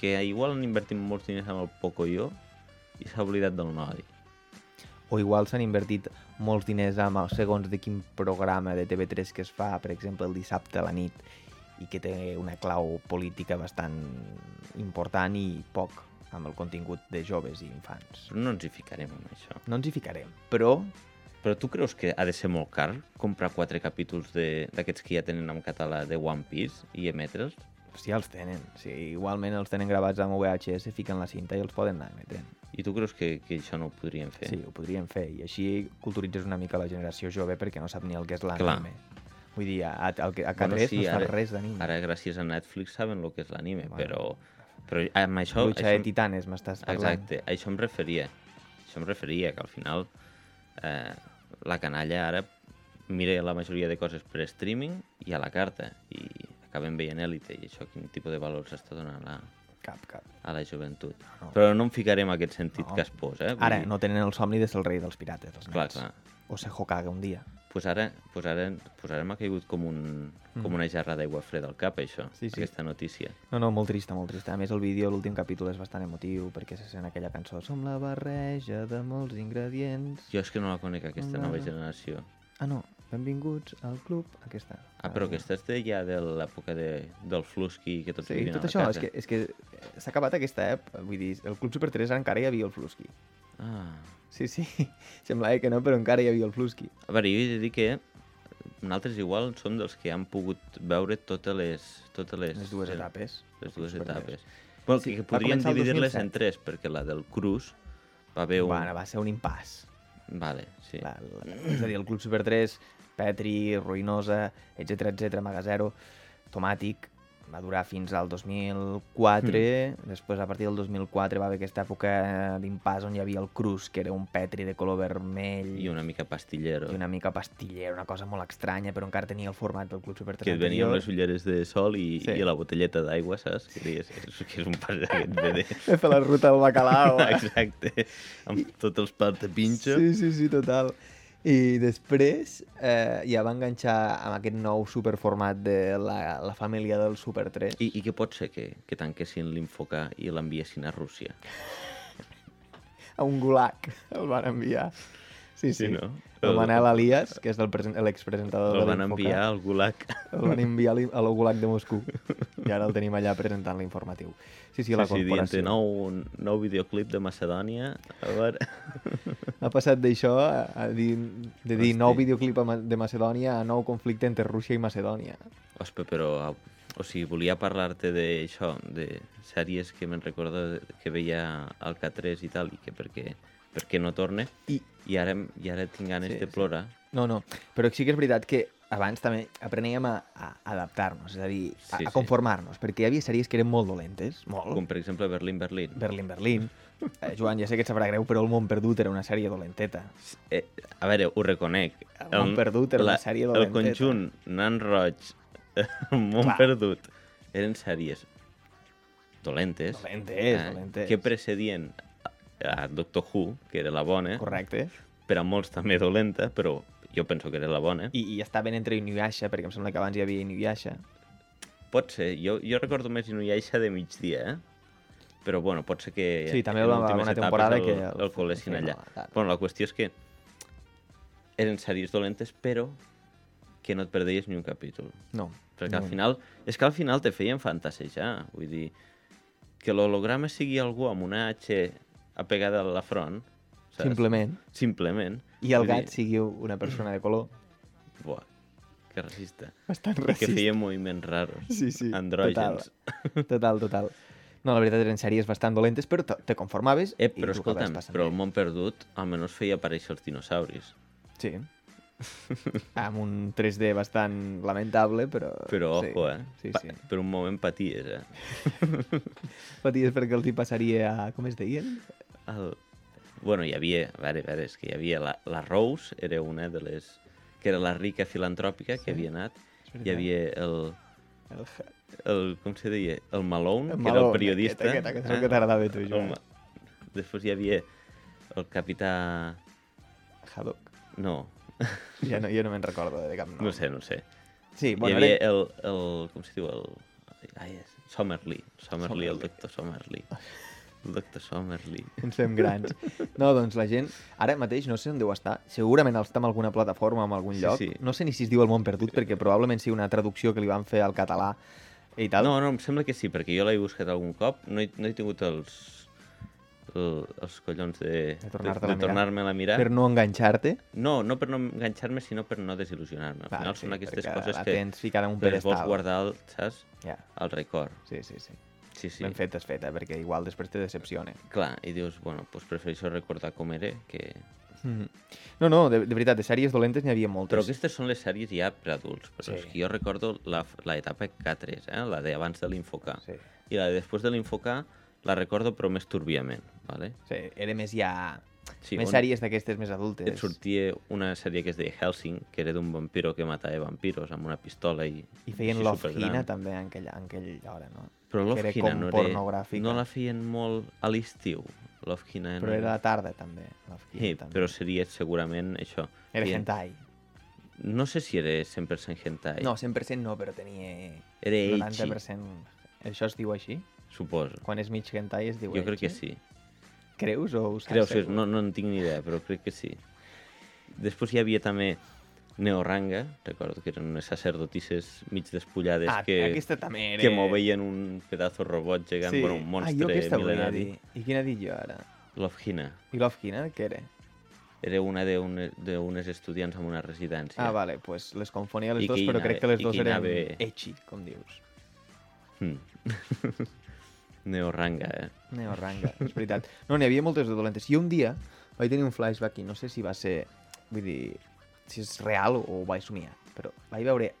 [SPEAKER 2] que igual han invertit molts diners amb el Pocoyo i s'ha oblidat del Nodi.
[SPEAKER 1] O igual s'han invertit molts diners amb el segons de quin programa de TV3 que es fa, per exemple, el dissabte a la nit, i que té una clau política bastant important i poc amb el contingut de joves i infants.
[SPEAKER 2] Però no ens hi ficarem amb això.
[SPEAKER 1] No ens hi ficarem, però
[SPEAKER 2] Però tu creus que ha de ser molt car comprar quatre capítols de- d'aquests que ja tenen en català de One Piece i emetre'ls?
[SPEAKER 1] sí, els tenen. Sí, igualment els tenen gravats amb VHS, fiquen la cinta i els poden anar emetent.
[SPEAKER 2] I tu creus que, que això no ho podríem fer?
[SPEAKER 1] Sí, ho podríem fer. I així culturitzes una mica la generació jove perquè no sap ni el que és l'anime. Vull dir, a, a, a, a K3 no es fa res d'anime.
[SPEAKER 2] Ara, gràcies a Netflix, saben el que és l'anime,
[SPEAKER 1] Bueno.
[SPEAKER 2] però, però amb això...
[SPEAKER 1] Lucha de
[SPEAKER 2] això
[SPEAKER 1] titanes, m'estàs parlant.
[SPEAKER 2] exacte, a això em referia. A Això em referia, que al final eh, la canalla ara mira la majoria de coses per streaming i a la carta, i acabem veient Elite, i això quin tipus de valor s'està donant a la,
[SPEAKER 1] Cap, cap.
[SPEAKER 2] a la joventut.
[SPEAKER 1] Ah, No.
[SPEAKER 2] Però no em ficaré en aquest sentit
[SPEAKER 1] No.
[SPEAKER 2] que es posa. Eh? Vull
[SPEAKER 1] Ara,
[SPEAKER 2] dir,
[SPEAKER 1] no tenen el somni de ser el rei dels pirates, els
[SPEAKER 2] Clar,
[SPEAKER 1] nens.
[SPEAKER 2] clar.
[SPEAKER 1] O ser Hokage un dia.
[SPEAKER 2] Pues ara, pues ara, pues ara m'ha caigut com, un, com una jarra d'aigua freda al cap, això,
[SPEAKER 1] Mm. Sí, sí.
[SPEAKER 2] aquesta notícia.
[SPEAKER 1] No, no, molt trista, molt trista. A més, el vídeo, l'últim capítol, és bastant emotiu, perquè se sent aquella cançó Som la barreja de molts ingredients.
[SPEAKER 2] Jo és que no la conec, aquesta
[SPEAKER 1] No,
[SPEAKER 2] nova
[SPEAKER 1] no.
[SPEAKER 2] generació.
[SPEAKER 1] Ah, no, benvinguts al club. Aquesta.
[SPEAKER 2] Ah, però aquesta és de ja de l'època de, del Flusky que tots
[SPEAKER 1] Sí,
[SPEAKER 2] vivien
[SPEAKER 1] tot
[SPEAKER 2] a la
[SPEAKER 1] això, és
[SPEAKER 2] casa.
[SPEAKER 1] que, és que eh, s'ha acabat aquesta app. Vull dir, el Club Super 3 encara hi havia el Flusky.
[SPEAKER 2] Ah.
[SPEAKER 1] Sí, sí, semblava que no, però encara hi havia el Flusky.
[SPEAKER 2] A veure, jo he de dir que nosaltres igual som dels que han pogut veure totes les... Totes les,
[SPEAKER 1] Les dues
[SPEAKER 2] eh,
[SPEAKER 1] etapes.
[SPEAKER 2] Les
[SPEAKER 1] del Club
[SPEAKER 2] dues
[SPEAKER 1] Super 3.
[SPEAKER 2] etapes. Bueno,
[SPEAKER 1] Sí,
[SPEAKER 2] sí, que
[SPEAKER 1] va
[SPEAKER 2] podrien
[SPEAKER 1] començar el
[SPEAKER 2] dividir-les
[SPEAKER 1] 2007.
[SPEAKER 2] en tres, perquè la del Cruz va haver un...
[SPEAKER 1] Bueno, va ser un impàs.
[SPEAKER 2] Vale, sí.
[SPEAKER 1] La, la, és a dir, el Club Super 3, Petri, Ruïnosa, etc etc Magasero, Tomàtic, va durar fins al 2004, mm. després a partir del 2004 va haver aquesta època d'impàs on hi havia el Cruz, que era un Petri de color vermell
[SPEAKER 2] I una mica pastillero.
[SPEAKER 1] i una mica pastiller, una cosa molt estranya, però encara tenia el format del Club Super 3
[SPEAKER 2] que et venia amb les ulleres de sol i,
[SPEAKER 1] Sí.
[SPEAKER 2] sí. i la botelleta d'aigua, saps? Que deies, és, que és un pas d'aquest bebè.
[SPEAKER 1] He fet la ruta del bacalao.
[SPEAKER 2] Oh.
[SPEAKER 1] eh?
[SPEAKER 2] Exacte. Amb tots els pals de pinxo.
[SPEAKER 1] Sí, sí, sí, total. I després eh, ja va enganxar amb aquest nou superformat de la, la família del Super 3.
[SPEAKER 2] I, i què pot ser que, que tanquessin l'Infocà i l'enviessin a Rússia?
[SPEAKER 1] a un gulag el van enviar. Sí, sí.
[SPEAKER 2] Sí, no?
[SPEAKER 1] El
[SPEAKER 2] El-
[SPEAKER 1] Manel Elias, que és el presen- l'expresentador de
[SPEAKER 2] El van
[SPEAKER 1] l'Infoca,
[SPEAKER 2] enviar al Gulag.
[SPEAKER 1] El van enviar a l'in- a l'Ogulag de Moscou. I ara el tenim allà presentant l'informatiu. Sí, sí, la
[SPEAKER 2] sí, dient
[SPEAKER 1] corporació.
[SPEAKER 2] nou, un nou videoclip de Macedònia. A veure...
[SPEAKER 1] Ha passat d'això a, a dir, de dir
[SPEAKER 2] Hosti.
[SPEAKER 1] nou videoclip a Ma- de Macedònia a nou conflicte entre Rússia i Macedònia.
[SPEAKER 2] Ospa, però... au, O sigui, volia parlar-te d'això, de sèries que me'n recordo que veia al K3 i tal, i que perquè, perquè no torne.
[SPEAKER 1] I,
[SPEAKER 2] I ara, i ara tinc ganes
[SPEAKER 1] Sí,
[SPEAKER 2] sí, de
[SPEAKER 1] sí.
[SPEAKER 2] plorar.
[SPEAKER 1] No, no, però sí que és veritat que abans també apreníem a, a adaptar-nos, és a dir, a,
[SPEAKER 2] Sí,
[SPEAKER 1] a
[SPEAKER 2] sí.
[SPEAKER 1] conformar-nos, perquè hi havia sèries que eren molt dolentes, molt.
[SPEAKER 2] Com per exemple Berlín, Berlín.
[SPEAKER 1] Berlín, Berlín. Eh, Joan, ja sé que et sabrà greu, però El món perdut era una sèrie dolenteta.
[SPEAKER 2] Eh, a veure, ho reconec.
[SPEAKER 1] El Món Perdut era una sèrie
[SPEAKER 2] El
[SPEAKER 1] dolenteta.
[SPEAKER 2] conjunt, Nan Roig, el Món
[SPEAKER 1] Clar.
[SPEAKER 2] Perdut, eren sèries dolentes. Eh,
[SPEAKER 1] Dolentes, dolentes.
[SPEAKER 2] Que precedien a a Doctor Who, que era la bona,
[SPEAKER 1] Correcte.
[SPEAKER 2] per a molts també dolenta, però jo penso que era la bona. I...
[SPEAKER 1] I, i estaven entre Inuyasha, perquè em sembla que abans hi havia Inuyasha.
[SPEAKER 2] Pot ser, jo, jo recordo més Inuyasha de migdia, eh? Però bueno, pot ser que...
[SPEAKER 1] Sí, també
[SPEAKER 2] en
[SPEAKER 1] va haver
[SPEAKER 2] últimes
[SPEAKER 1] una
[SPEAKER 2] etapes
[SPEAKER 1] temporada
[SPEAKER 2] el,
[SPEAKER 1] que el-
[SPEAKER 2] El, el col·lessin
[SPEAKER 1] sí,
[SPEAKER 2] allà.
[SPEAKER 1] no, clar.
[SPEAKER 2] bueno, la qüestió és que eren sèries dolentes, però que no et perdeies ni un capítol.
[SPEAKER 1] No.
[SPEAKER 2] Perquè al
[SPEAKER 1] no.
[SPEAKER 2] final, és que al final te feien fantasejar, vull dir, que l'holograma sigui algú amb una H apegada a la front, saps?
[SPEAKER 1] Simplement.
[SPEAKER 2] Simplement.
[SPEAKER 1] I el
[SPEAKER 2] Vull
[SPEAKER 1] gat sigui una persona de color.
[SPEAKER 2] Dir, buah, que racista.
[SPEAKER 1] Bastant
[SPEAKER 2] Que
[SPEAKER 1] racista.
[SPEAKER 2] feia moviments raros.
[SPEAKER 1] Sí, sí.
[SPEAKER 2] Andrògens.
[SPEAKER 1] Total, total. total. No, la veritat eren sèries bastant dolentes, però te, te conformaves
[SPEAKER 2] Eh,
[SPEAKER 1] i
[SPEAKER 2] però
[SPEAKER 1] ho acabaves
[SPEAKER 2] escolta'm,
[SPEAKER 1] passant
[SPEAKER 2] però
[SPEAKER 1] bé.
[SPEAKER 2] el món perdut almenys feia aparèixer els dinosauris.
[SPEAKER 1] Sí. Amb un 3D bastant lamentable, però...
[SPEAKER 2] Però
[SPEAKER 1] sí.
[SPEAKER 2] ojo, eh?
[SPEAKER 1] Sí,
[SPEAKER 2] Pa-
[SPEAKER 1] sí.
[SPEAKER 2] Per un moment paties, eh?
[SPEAKER 1] Paties perquè els hi passaria a... Com es deien?
[SPEAKER 2] El... Ah, Bueno, hi havia, a veure, a veure, és que hi havia la, la Rose, era una de les... que era la rica filantròpica que
[SPEAKER 1] Sí,
[SPEAKER 2] havia anat.
[SPEAKER 1] és veritat.
[SPEAKER 2] Hi havia el,
[SPEAKER 1] El...
[SPEAKER 2] el, com se deia, el Malone,
[SPEAKER 1] El
[SPEAKER 2] que era el
[SPEAKER 1] Malone,
[SPEAKER 2] periodista. Ah.
[SPEAKER 1] aquest, aquest, aquest és el que t'agradava a tu, eh?
[SPEAKER 2] El
[SPEAKER 1] Joan.
[SPEAKER 2] Ma- Després hi havia el capità...
[SPEAKER 1] Haddock.
[SPEAKER 2] No,
[SPEAKER 1] Ja no, jo no me'n recordo de cap nom.
[SPEAKER 2] no, sé, no sé.
[SPEAKER 1] Sí, bueno,
[SPEAKER 2] Bueno, hi havia
[SPEAKER 1] era...
[SPEAKER 2] el, el... com se diu? El... Ai, és... Summerlee. Summerlee, el doctor Summerlee. El doctor Summerlee.
[SPEAKER 1] Ens fem grans. No, doncs la gent, ara mateix no sé on deu estar, segurament està en alguna plataforma, en algun
[SPEAKER 2] Sí,
[SPEAKER 1] lloc,
[SPEAKER 2] sí.
[SPEAKER 1] no sé ni si es diu El món perdut, perquè probablement sigui una traducció que li van fer al català i tal.
[SPEAKER 2] No, no, em sembla que sí, perquè jo l'he buscat algun cop, no he, no he tingut els, el, els collons de,
[SPEAKER 1] De tornar-te-la a
[SPEAKER 2] de, de
[SPEAKER 1] mirar.
[SPEAKER 2] tornar-me-la a mirar.
[SPEAKER 1] Per no enganxar-te,
[SPEAKER 2] No, no per no enganxar-me, sinó per no desil·lusionar-me. Al
[SPEAKER 1] Val,
[SPEAKER 2] final
[SPEAKER 1] sí,
[SPEAKER 2] són aquestes
[SPEAKER 1] perquè
[SPEAKER 2] coses
[SPEAKER 1] la
[SPEAKER 2] que
[SPEAKER 1] tens ficada en un
[SPEAKER 2] les vols
[SPEAKER 1] pedestal.
[SPEAKER 2] guardar, el- saps?
[SPEAKER 1] ja,
[SPEAKER 2] El record.
[SPEAKER 1] sí, sí, sí.
[SPEAKER 2] Sí,
[SPEAKER 1] sí.
[SPEAKER 2] sí.
[SPEAKER 1] Ben fet, és feta, perquè igual després te decepciona.
[SPEAKER 2] Clar, i dius, bueno, doncs prefereixo recordar com era, que...
[SPEAKER 1] Mm. No, no, de, de veritat, de sèries dolentes n'hi havia moltes.
[SPEAKER 2] Però aquestes són les sèries ja per adults, però
[SPEAKER 1] Sí.
[SPEAKER 2] és que jo recordo la- l'etapa K3, eh? la de abans de l'Infocar.
[SPEAKER 1] Sí.
[SPEAKER 2] I la de després de l'Infocar la recordo però més turbiament, ¿vale?
[SPEAKER 1] Sí, era més ja...
[SPEAKER 2] Sí,
[SPEAKER 1] Sí, més
[SPEAKER 2] on-
[SPEAKER 1] sèries d'aquestes més adultes.
[SPEAKER 2] Et sortia una sèrie que es deia Helsing, que era d'un vampiro que matava vampiros amb una pistola i...
[SPEAKER 1] I feien
[SPEAKER 2] així
[SPEAKER 1] Love
[SPEAKER 2] supergran.
[SPEAKER 1] Hina també en aquella, en aquella hora, no?
[SPEAKER 2] Però
[SPEAKER 1] que
[SPEAKER 2] Love
[SPEAKER 1] era
[SPEAKER 2] Hina
[SPEAKER 1] com
[SPEAKER 2] no era...
[SPEAKER 1] pornogràfica.
[SPEAKER 2] No la feien molt a l'estiu, Love Hina. no
[SPEAKER 1] Però era a la tarda, també. Love Hina,
[SPEAKER 2] Sí,
[SPEAKER 1] també.
[SPEAKER 2] però seria segurament això.
[SPEAKER 1] Era
[SPEAKER 2] Feien-
[SPEAKER 1] hentai.
[SPEAKER 2] No sé si era 100% hentai.
[SPEAKER 1] No, 100% no, però tenia...
[SPEAKER 2] Era ecchi.
[SPEAKER 1] 90%... Això es diu així?
[SPEAKER 2] Suposo.
[SPEAKER 1] Quan és mig hentai es diu
[SPEAKER 2] Jo crec que
[SPEAKER 1] ecchi?
[SPEAKER 2] sí.
[SPEAKER 1] Creus o us
[SPEAKER 2] Creu, sí, no, no en tinc ni idea, però crec que sí. Després hi havia també Neoranga, recordo que eren unes sacerdotisses mig despullades
[SPEAKER 1] Ah,
[SPEAKER 2] que,
[SPEAKER 1] aquesta també era...
[SPEAKER 2] que moveien un pedazo robot gegant, sí. bueno, un
[SPEAKER 1] ah, jo
[SPEAKER 2] monstre
[SPEAKER 1] aquesta volia
[SPEAKER 2] mil·lenari.
[SPEAKER 1] dir. I quina dic jo ara?
[SPEAKER 2] Love Hina.
[SPEAKER 1] I Love Hina, què era?
[SPEAKER 2] Era una d'unes de unes estudiants en una residència.
[SPEAKER 1] Ah, vale, pues les confonia les
[SPEAKER 2] I
[SPEAKER 1] dues,
[SPEAKER 2] qui
[SPEAKER 1] però
[SPEAKER 2] anava-
[SPEAKER 1] crec que les
[SPEAKER 2] i
[SPEAKER 1] dues
[SPEAKER 2] qui
[SPEAKER 1] eren
[SPEAKER 2] anava-
[SPEAKER 1] ecchi, com dius.
[SPEAKER 2] Hmm. Neoranga, eh?
[SPEAKER 1] Neoranga, és veritat. No, n'hi havia moltes de dolentes. I un dia vaig tenir un flashback i no sé si va ser... Vull dir, si és real o ho vaig somiar, però vaig veure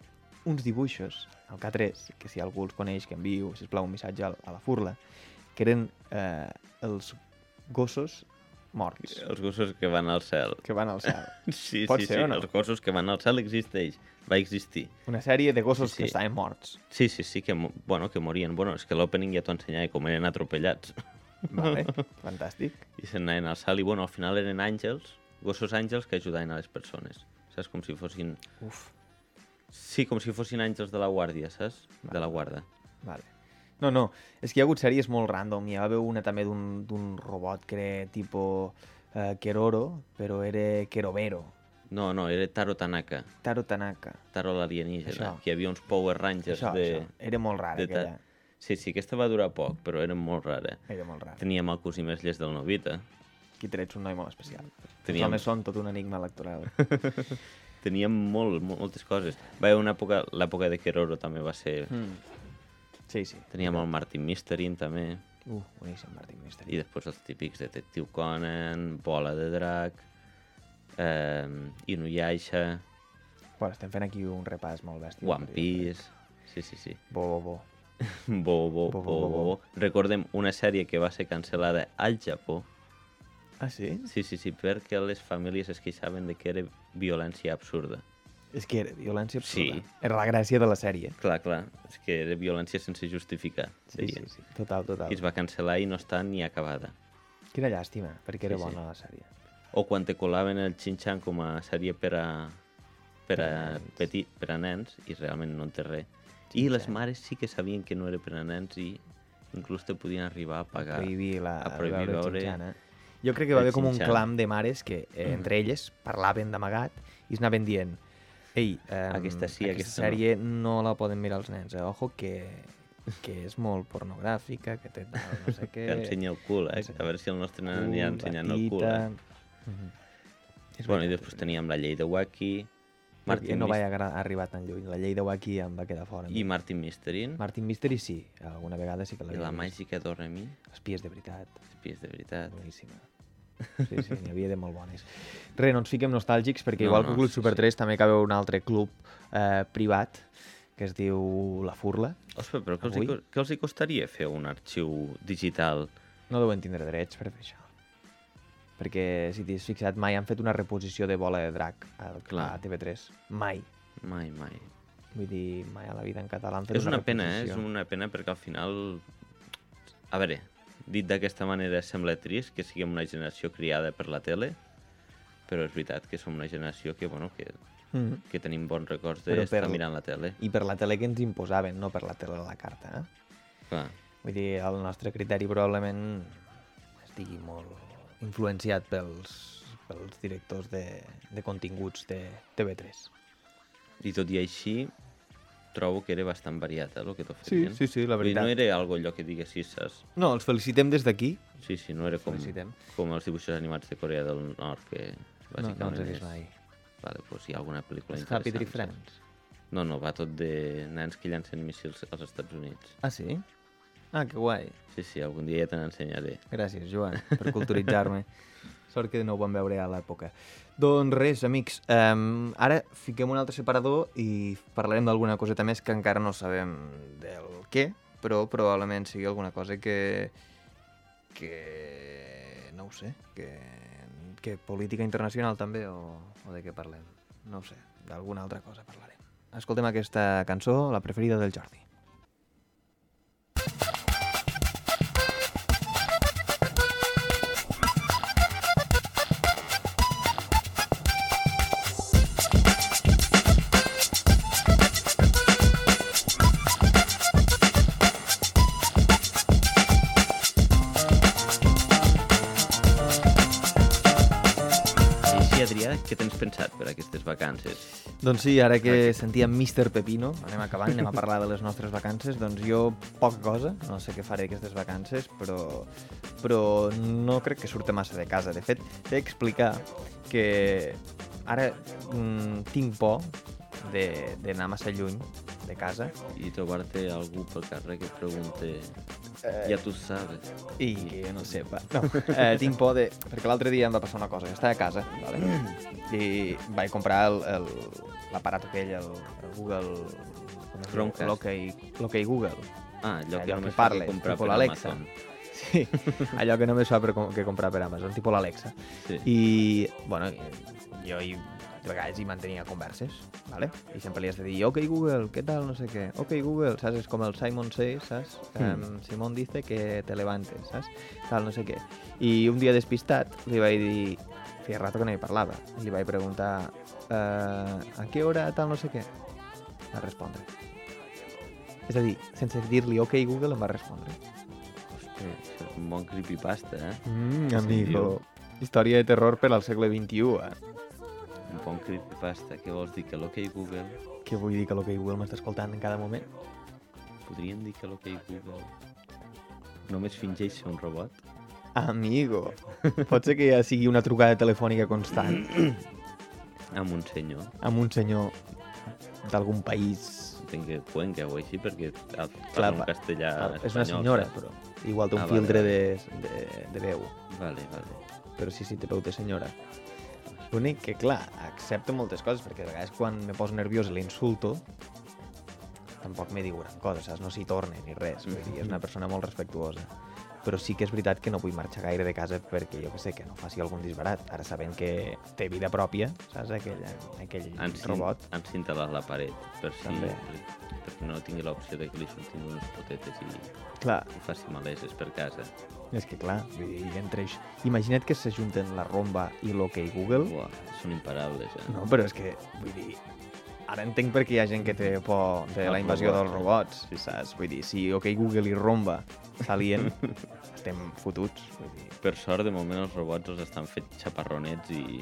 [SPEAKER 1] uns dibuixos al K3, que si algú els coneix, que enviu, sisplau, un missatge al- a la furla, que eren eh, els gossos morts
[SPEAKER 2] Els gossos que van al cel.
[SPEAKER 1] que van al cel.
[SPEAKER 2] Sí,
[SPEAKER 1] Pot
[SPEAKER 2] sí,
[SPEAKER 1] ser
[SPEAKER 2] sí.
[SPEAKER 1] o no?
[SPEAKER 2] Els gossos que van al cel existeix. Va existir.
[SPEAKER 1] Una sèrie de gossos sí, sí.
[SPEAKER 2] Sí, sí.
[SPEAKER 1] que estaven morts.
[SPEAKER 2] Sí, sí, sí, que, mo- bueno, que morien. Bueno, és que l'opening ja t'ho ensenyava com eren atropellats.
[SPEAKER 1] Vale? Fantàstic.
[SPEAKER 2] I se'n anaven al cel i, bueno, al final eren àngels, gossos àngels que ajudaven a les persones. Saps? Com si fossin...
[SPEAKER 1] Uf,
[SPEAKER 2] Sí, com si fossin àngels de la guàrdia, saps? De la guarda.
[SPEAKER 1] Vale. No, no, és que hi ha hagut sèries molt random. Hi va haver una també d'un d'un robot que era tipo eh, Keroro, però era Kerovero.
[SPEAKER 2] No, no, era Taro Tanaka,
[SPEAKER 1] Taro Tanaka.
[SPEAKER 2] Taro l'alienígena,
[SPEAKER 1] Això.
[SPEAKER 2] que hi havia uns Power Rangers
[SPEAKER 1] Això,
[SPEAKER 2] de...
[SPEAKER 1] això. Era molt rara,
[SPEAKER 2] de ta-
[SPEAKER 1] aquella.
[SPEAKER 2] Sí, sí, aquesta va durar poc, però era molt rara.
[SPEAKER 1] Era molt rara.
[SPEAKER 2] Teníem el cosí més llest del Novita.
[SPEAKER 1] Aquí trets un noi molt especial.
[SPEAKER 2] Teníem-
[SPEAKER 1] Teníem... Els homes són tot un enigma electoral.
[SPEAKER 2] Teníem molt, mo- moltes coses. Va haver una època, l'època de Keroro també va ser...
[SPEAKER 1] mm. Sí, sí.
[SPEAKER 2] Teníem el Martin Mysterin també,
[SPEAKER 1] Uh, boníssim, Martin Mystery.
[SPEAKER 2] i després els típics Detectiu Conan, Bola de Drac, eh, Inuyasha,
[SPEAKER 1] Bueno, estem fent aquí un repàs molt bèstia.
[SPEAKER 2] One Piece... Sí, sí, sí.
[SPEAKER 1] Bo, bo, bo.
[SPEAKER 2] Bo, bo, bo,
[SPEAKER 1] Bo, bo,
[SPEAKER 2] bo,
[SPEAKER 1] bo,
[SPEAKER 2] bo. Recordem una sèrie que va ser cancel·lada al Japó.
[SPEAKER 1] Ah, sí?
[SPEAKER 2] Sí, sí, sí, perquè les famílies es queixaven de que era violència absurda.
[SPEAKER 1] És que era violència absurda.
[SPEAKER 2] Sí.
[SPEAKER 1] Sí. Era la gràcia de la sèrie.
[SPEAKER 2] Clar, clar, és que era violència sense justificar.
[SPEAKER 1] Sí, sí, sí. Total, total.
[SPEAKER 2] I es va cancel·lar i no està ni acabada.
[SPEAKER 1] Quina llàstima, perquè era
[SPEAKER 2] Sí, sí.
[SPEAKER 1] bona la sèrie.
[SPEAKER 2] O quan te colaven el Xinxan com a sèrie per a, per a,
[SPEAKER 1] nens.
[SPEAKER 2] petit, per a nens i realment no en té res. I les mares sí que sabien que no era per a nens i inclús te podien arribar a pagar.
[SPEAKER 1] prohibir la,
[SPEAKER 2] a prohibir
[SPEAKER 1] veure
[SPEAKER 2] veure-
[SPEAKER 1] Xinxana. Jo crec que va
[SPEAKER 2] el
[SPEAKER 1] haver com un
[SPEAKER 2] Xinxana. Mm-hmm.
[SPEAKER 1] clam de mares que eh, entre elles parlaven d'amagat i es anaven dient Ei, um,
[SPEAKER 2] Aquesta sí, aquesta
[SPEAKER 1] aquesta
[SPEAKER 2] no."
[SPEAKER 1] sèrie no. la poden mirar els nens, eh? ojo que, que és molt pornogràfica, que té tal, no sé què...
[SPEAKER 2] Que ensenya el cul, eh?
[SPEAKER 1] Ensenya
[SPEAKER 2] A veure si el nostre nen
[SPEAKER 1] cul,
[SPEAKER 2] anirà
[SPEAKER 1] la
[SPEAKER 2] ensenyant el cul,
[SPEAKER 1] tita.
[SPEAKER 2] eh?
[SPEAKER 1] Mhm. És
[SPEAKER 2] Bueno, i
[SPEAKER 1] veritat,
[SPEAKER 2] després teníem la llei de Wacky,
[SPEAKER 1] Martin
[SPEAKER 2] Martin
[SPEAKER 1] no vaig
[SPEAKER 2] Mystery.
[SPEAKER 1] agra- arribar tan lluny. La llei de Wacky em va quedar fora.
[SPEAKER 2] I Martin Mysterin.
[SPEAKER 1] Martin Mystery sí, alguna vegada sí que
[SPEAKER 2] I
[SPEAKER 1] l'havia
[SPEAKER 2] la
[SPEAKER 1] vist.
[SPEAKER 2] màgica d'Oremi.
[SPEAKER 1] Espies de veritat.
[SPEAKER 2] Espies de veritat.
[SPEAKER 1] Boníssima. Sí, sí, n'hi havia de molt bones. Res, no ens fiquem nostàlgics, perquè
[SPEAKER 2] No,
[SPEAKER 1] no, igual
[SPEAKER 2] no,
[SPEAKER 1] que el Club
[SPEAKER 2] sí,
[SPEAKER 1] Super 3 també acaba un altre club eh, privat que es diu La Furla.
[SPEAKER 2] Ostres, però què els, hi,
[SPEAKER 1] Avui?
[SPEAKER 2] co- què els hi costaria fer un arxiu digital?
[SPEAKER 1] No deuen tindre drets per fer això. Perquè, si t'hi has fixat, mai han fet una reposició de Bola de Drac a, a
[SPEAKER 2] Clar.
[SPEAKER 1] TV3. Mai.
[SPEAKER 2] Mai, mai.
[SPEAKER 1] Vull dir, mai a la vida en català han fet
[SPEAKER 2] és una pena, eh? És
[SPEAKER 1] reposició.
[SPEAKER 2] una pena perquè al final... A veure, dit d'aquesta manera sembla trist que siguem una generació criada per la tele, però és veritat que som una generació que, bueno, que,
[SPEAKER 1] Mhm.
[SPEAKER 2] que tenim bons records
[SPEAKER 1] Però
[SPEAKER 2] d'estar
[SPEAKER 1] per-
[SPEAKER 2] mirant la tele.
[SPEAKER 1] I per la tele que ens imposaven, no per la tele a la carta. Eh?
[SPEAKER 2] Clar.
[SPEAKER 1] Vull dir, el nostre criteri probablement estigui molt influenciat pels, pels directors de, de continguts de TV3.
[SPEAKER 2] I tot i així, trobo que era bastant variat, eh, el que t'oferien.
[SPEAKER 1] Sí, sí, sí, la
[SPEAKER 2] Vull dir,
[SPEAKER 1] veritat.
[SPEAKER 2] No era algo allò que diguessis, saps?
[SPEAKER 1] No, els felicitem des d'aquí.
[SPEAKER 2] Sí, sí, no era com,
[SPEAKER 1] Felicitem.
[SPEAKER 2] com els dibuixos animats de Corea del Nord, que
[SPEAKER 1] No,
[SPEAKER 2] bàsicament
[SPEAKER 1] no els he vist
[SPEAKER 2] és-
[SPEAKER 1] mai.
[SPEAKER 2] Vale, doncs hi ha alguna pel·lícula
[SPEAKER 1] Els Happy Tree
[SPEAKER 2] interessant,
[SPEAKER 1] Friends.
[SPEAKER 2] saps? No, no, va tot de nens que llancen míssils als Estats Units.
[SPEAKER 1] Ah, sí? Ah, que guai.
[SPEAKER 2] Sí, sí, algun dia ja te n'ensenyaré.
[SPEAKER 1] Gràcies, Joan, per culturitzar-me. Sort que no ho vam veure a l'època. Doncs res, amics, um, ara fiquem un altre separador i parlarem d'alguna coseta més que encara no sabem del què, però probablement sigui alguna cosa que... que... no ho sé, que... que política internacional també, o, o de què parlem. No ho sé, d'alguna altra cosa parlarem. Escoltem aquesta cançó, la preferida del Jordi.
[SPEAKER 2] I així, Adrià, què tens pensat per aquestes vacances?
[SPEAKER 1] Doncs sí, ara que sentíem Mr. Pepino, anem acabant, anem a parlar de les nostres vacances, doncs jo poca cosa, no sé què faré aquestes vacances, però, però no crec que surta massa de casa. De fet, t'he d'explicar que ara mm, tinc por de- d'anar massa lluny de casa
[SPEAKER 2] I trobar-te algú pel carrer que et pregunte... Ja tu sabes.
[SPEAKER 1] i que no sepa. No, eh, tinc por de... Perquè l'altre dia em va passar una cosa, que estava a casa vale? Mm. i vaig comprar el- el- l'aparat aquell, el, el Google... com es diu?
[SPEAKER 2] Chromecast.
[SPEAKER 1] L'Okey l'Okey Google.
[SPEAKER 2] Ah, allò que
[SPEAKER 1] Allò Eh, que
[SPEAKER 2] només s'ha de
[SPEAKER 1] parles,
[SPEAKER 2] comprar
[SPEAKER 1] tipo
[SPEAKER 2] per
[SPEAKER 1] l'Alexa.
[SPEAKER 2] Amazon.
[SPEAKER 1] Sí, allò que només fa per, com- que comprar per Amazon, tipus l'Alexa.
[SPEAKER 2] Sí. I...
[SPEAKER 1] I, bueno, i- jo hi, de vegades hi mantenia converses, vale? i sempre li has de dir, ok Google, què tal, no sé què, ok Google, saps? És com el Simon Says, saps? Mm. Um, Simon dice que te levantes, saps? Tal, no sé què. I un dia despistat li vaig dir, feia rato que no hi parlava, i li vaig preguntar, eh, a què hora tal, no sé què? Va respondre. És a dir, sense dir-li ok Google em va respondre.
[SPEAKER 2] Això és un bon creepypasta, eh?
[SPEAKER 1] Mm,
[SPEAKER 2] amigo.
[SPEAKER 1] Història de terror per al segle XXI, eh?
[SPEAKER 2] Un bon creepypasta. Què vols dir? Que l'Ok Google...
[SPEAKER 1] Què vull dir que l'Ok Google m'està escoltant en cada moment?
[SPEAKER 2] Podríem dir que l'Ok Google... Només fingeix ser un robot?
[SPEAKER 1] Amigo. Pot ser que ja sigui una trucada telefònica constant
[SPEAKER 2] Ah, Amb un senyor.
[SPEAKER 1] amb un senyor d'algun país.
[SPEAKER 2] Entenc que Cuenca o així, perquè ha-
[SPEAKER 1] Clar,
[SPEAKER 2] parla un
[SPEAKER 1] pa-
[SPEAKER 2] castellà Eh, espanyol.
[SPEAKER 1] és una senyora, però igual té un ah,
[SPEAKER 2] Ah, vale,
[SPEAKER 1] filtre De,
[SPEAKER 2] vale.
[SPEAKER 1] de, de veu.
[SPEAKER 2] Vale, vale.
[SPEAKER 1] Però sí, sí, té veu de senyora. L'únic que, clar, accepto moltes coses, perquè de vegades quan me poso nerviós i l'insulto, tampoc me diu gran cosa, saps? No s'hi torna ni res. Vull dir, és una persona molt respectuosa. Però sí que és veritat que no vull marxar gaire de casa perquè, jo que sé, que no faci algun disbarat. Ara sabent que té vida pròpia, saps? Aquell, aquell
[SPEAKER 2] Encin-
[SPEAKER 1] robot.
[SPEAKER 2] Encintem-la a la paret, per si...
[SPEAKER 1] També.
[SPEAKER 2] Per, perquè no tingui l'opció de que li surtin unes potetes i
[SPEAKER 1] Clar,
[SPEAKER 2] ho faci maleses per casa.
[SPEAKER 1] és que clar, vull dir, entre això... Imagina't que s'ajunten la romba i l'hoquei Google.
[SPEAKER 2] Uah, són imparables, eh?
[SPEAKER 1] No, però és que, vull dir, ara entenc per què hi ha gent que té por de
[SPEAKER 2] Els
[SPEAKER 1] la invasió dels
[SPEAKER 2] Ah, robots.
[SPEAKER 1] robots, saps? Vull dir, si OK Google i Romba salien, estem fotuts. Vull dir,
[SPEAKER 2] Per sort, de moment, els robots els estan fet xaparronets i,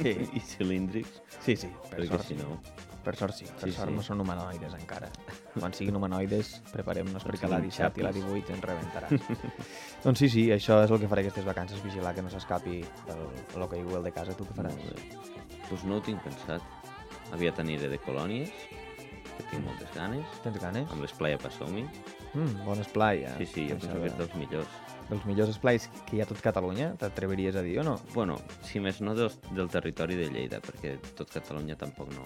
[SPEAKER 1] Sí.
[SPEAKER 2] i cilíndrics,
[SPEAKER 1] sí, sí, per
[SPEAKER 2] perquè
[SPEAKER 1] sort,
[SPEAKER 2] si no...
[SPEAKER 1] per sort sí. Per
[SPEAKER 2] Sí,
[SPEAKER 1] sí, sort
[SPEAKER 2] sí.
[SPEAKER 1] no són humanoides encara. Quan siguin humanoides, preparem-nos perquè la
[SPEAKER 2] siguin
[SPEAKER 1] 17 i la
[SPEAKER 2] xapis.
[SPEAKER 1] 18 ens rebentaràs. doncs sí, sí, això és el que faré aquestes vacances, vigilar que no s'escapi el- l'hoquei Google de casa. Tu què faràs?
[SPEAKER 2] Doncs pues no ho tinc pensat. aviat aniré de colònies, que tinc moltes ganes,
[SPEAKER 1] Tens ganes?
[SPEAKER 2] amb l'esplai a Passomi.
[SPEAKER 1] Mm, bon esplai. eh?
[SPEAKER 2] Sí, sí, jo
[SPEAKER 1] Em
[SPEAKER 2] penso
[SPEAKER 1] sembla
[SPEAKER 2] que és dels millors.
[SPEAKER 1] dels millors esplais que hi ha a tot Catalunya, t'atreviries a dir o no?
[SPEAKER 2] Bueno, si més no del, del territori de Lleida, perquè tot Catalunya tampoc no,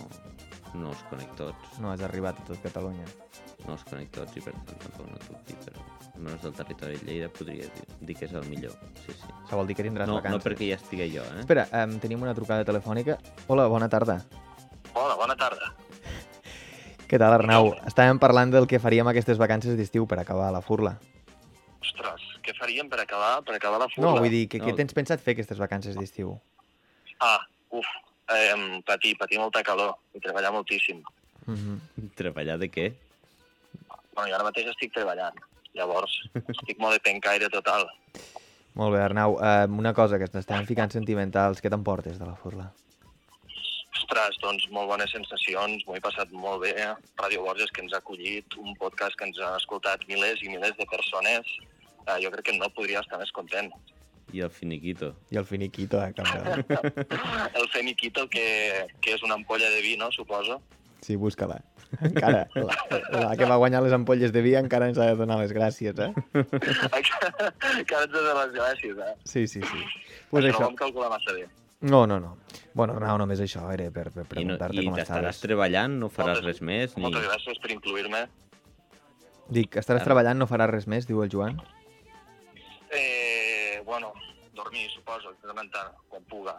[SPEAKER 2] no els conec tots,
[SPEAKER 1] No has arribat a tot Catalunya.
[SPEAKER 2] no els conec tots i per tant tampoc no et puc dir, però almenys del territori de Lleida podria dir, dir que és el millor, sí, sí.
[SPEAKER 1] Això vol dir que tindràs
[SPEAKER 2] No, no
[SPEAKER 1] vacances.
[SPEAKER 2] perquè hi estigui jo, eh?
[SPEAKER 1] Espera, em, tenim una trucada telefònica. Hola, bona tarda.
[SPEAKER 3] Hola, bona tarda.
[SPEAKER 1] Què tal, Arnau? Estàvem parlant del que faríem aquestes vacances d'estiu per acabar a la furla.
[SPEAKER 3] Ostres, què faríem per acabar per acabar la furla?
[SPEAKER 1] No, vull dir, que, què
[SPEAKER 2] No.
[SPEAKER 1] tens pensat fer aquestes vacances d'estiu?
[SPEAKER 3] Ah, uf, eh, patir, patir molta calor i treballar moltíssim.
[SPEAKER 1] Mm -hmm.
[SPEAKER 2] Treballar de què?
[SPEAKER 3] Bueno, jo ara mateix estic treballant, llavors estic molt de pencaire total.
[SPEAKER 1] Molt bé, Arnau. Um, una cosa, que ens estem ficant sentimentals. Què t'emportes de la furla?
[SPEAKER 3] Ostres, doncs molt bones sensacions, m'ho he passat molt bé. Ràdio Borges que ens ha acollit, un podcast que ens han escoltat milers i milers de persones. Eh, jo crec que no podria estar més content.
[SPEAKER 2] I el finiquito.
[SPEAKER 1] I el finiquito, eh, cabrón.
[SPEAKER 3] El Feniquito, que, que és una ampolla de vi, no?, suposo.
[SPEAKER 1] Sí, busca-la. Encara, la, la que va guanyar les ampolles de vi encara ens ha de donar les gràcies, eh?
[SPEAKER 3] que ara ens ha de les gràcies, eh?
[SPEAKER 1] Sí, sí, sí. Pues
[SPEAKER 3] això no
[SPEAKER 1] això.
[SPEAKER 3] ho vam calcular massa bé.
[SPEAKER 1] No, no, no. Bueno, Arnau, només això era per, per
[SPEAKER 2] I, no,
[SPEAKER 1] preguntar-te
[SPEAKER 2] i
[SPEAKER 1] com
[SPEAKER 2] t'estaràs
[SPEAKER 1] estaves.
[SPEAKER 2] treballant, no faràs
[SPEAKER 3] Moltes-
[SPEAKER 2] res més, ni...
[SPEAKER 3] Moltes gràcies per incluir-me.
[SPEAKER 1] Dic,
[SPEAKER 2] Ah.
[SPEAKER 1] estaràs treballant, no faràs res més, diu el Joan.
[SPEAKER 3] Eh, bueno, dormir, suposo, de tant en tant, quan puga.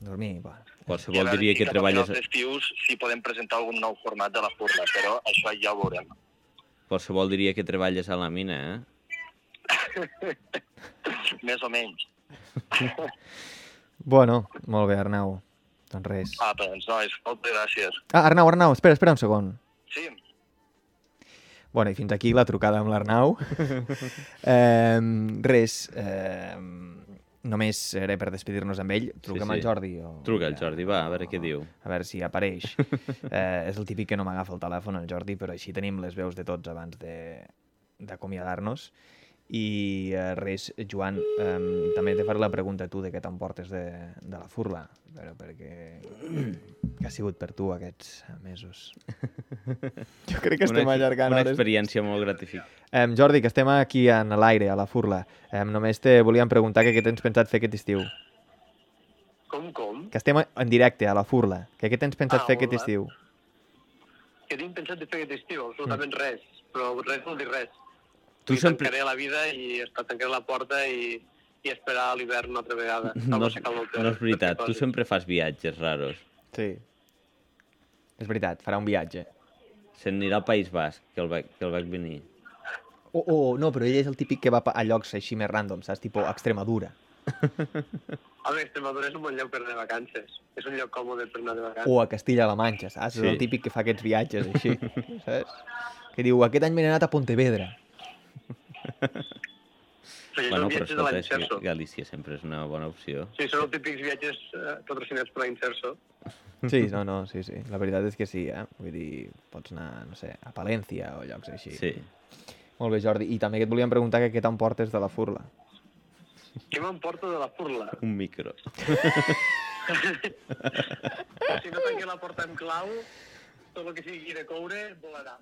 [SPEAKER 1] Dormir, va.
[SPEAKER 3] I a
[SPEAKER 2] Qualsevol
[SPEAKER 3] veure
[SPEAKER 2] diria
[SPEAKER 3] si
[SPEAKER 2] que
[SPEAKER 3] cap a
[SPEAKER 2] treballes...
[SPEAKER 3] finals d'estius si podem presentar algun nou format de la furla, però això ja ho veurem.
[SPEAKER 2] Qualsevol diria que treballes a la mina, eh?
[SPEAKER 3] Més o menys.
[SPEAKER 1] Bueno, molt bé, Arnau. Doncs res.
[SPEAKER 3] Ah, doncs, nois, moltes gràcies.
[SPEAKER 1] Ah, Arnau, Arnau, espera, espera un segon.
[SPEAKER 3] Sí,
[SPEAKER 1] Bueno, i fins aquí la trucada amb l'Arnau. eh, res, eh, només era per despedir-nos amb ell. Truquem
[SPEAKER 2] sí.
[SPEAKER 1] al Jordi. O... Ah.
[SPEAKER 2] Truca el Jordi, va, a veure què diu.
[SPEAKER 1] A veure si apareix. eh, és el típic que no m'agafa el telèfon, el Jordi, però així tenim les veus de tots abans de- d'acomiadar-nos. I eh, res, Joan, eh, també te faré la pregunta a tu de què t'emportes de, de la furla, però perquè què ha sigut per tu aquests mesos? Jo crec
[SPEAKER 2] ex- una experiència molt gratificant.
[SPEAKER 1] Em, Jordi, que estem aquí en l'aire, a la furla. Em, només te volíem preguntar que què tens pensat fer aquest estiu.
[SPEAKER 3] com, com?
[SPEAKER 1] Que estem en directe, a la furla. Que què tens pensat
[SPEAKER 3] Ah,
[SPEAKER 1] fer aquest
[SPEAKER 3] hola.
[SPEAKER 1] estiu?
[SPEAKER 3] Que tinc pensat de fer aquest estiu, absolutament res, però res vol dir res.
[SPEAKER 2] Mm. Tu sempre...
[SPEAKER 3] la vida i estar tancaré la porta i, i esperar l'hivern una altra vegada.
[SPEAKER 2] No, és- no és veritat, tu sempre fas viatges raros.
[SPEAKER 1] Sí. És veritat, farà un viatge.
[SPEAKER 2] Se'n anirà al País Basc, que el vaig, que el vaig venir.
[SPEAKER 1] Oh, oh, no, però ell és el típic que va pa- a llocs així més random, saps? Tipo Extremadura.
[SPEAKER 3] Home, Extremadura és un bon lloc per anar de vacances. És un lloc còmode per anar de vacances.
[SPEAKER 1] O a Castilla-La Manxa, saps? Sí. És
[SPEAKER 2] Sí.
[SPEAKER 1] el típic que fa aquests viatges així, saps? Que diu, aquest any m'he anat a Pontevedra. Oh.
[SPEAKER 3] Sí,
[SPEAKER 2] bueno,
[SPEAKER 3] són
[SPEAKER 2] però
[SPEAKER 3] viatges
[SPEAKER 2] escolta, és
[SPEAKER 3] de l'Inserso.
[SPEAKER 2] que Galícia sempre és una bona opció.
[SPEAKER 3] Sí, són els típics viatges eh, patrocinats per l'Inserso.
[SPEAKER 1] Sí, no, no, sí, sí. La veritat és que sí, eh? Vull dir, pots anar, no sé, a Palència o llocs així.
[SPEAKER 2] Sí.
[SPEAKER 1] Molt bé, Jordi. I també que et volíem preguntar que què t'emportes de la furla.
[SPEAKER 3] Què m'emporto de la furla?
[SPEAKER 2] Un micro.
[SPEAKER 1] Eh!
[SPEAKER 3] Si no tanqué la porta amb clau, tot el que sigui de coure volarà.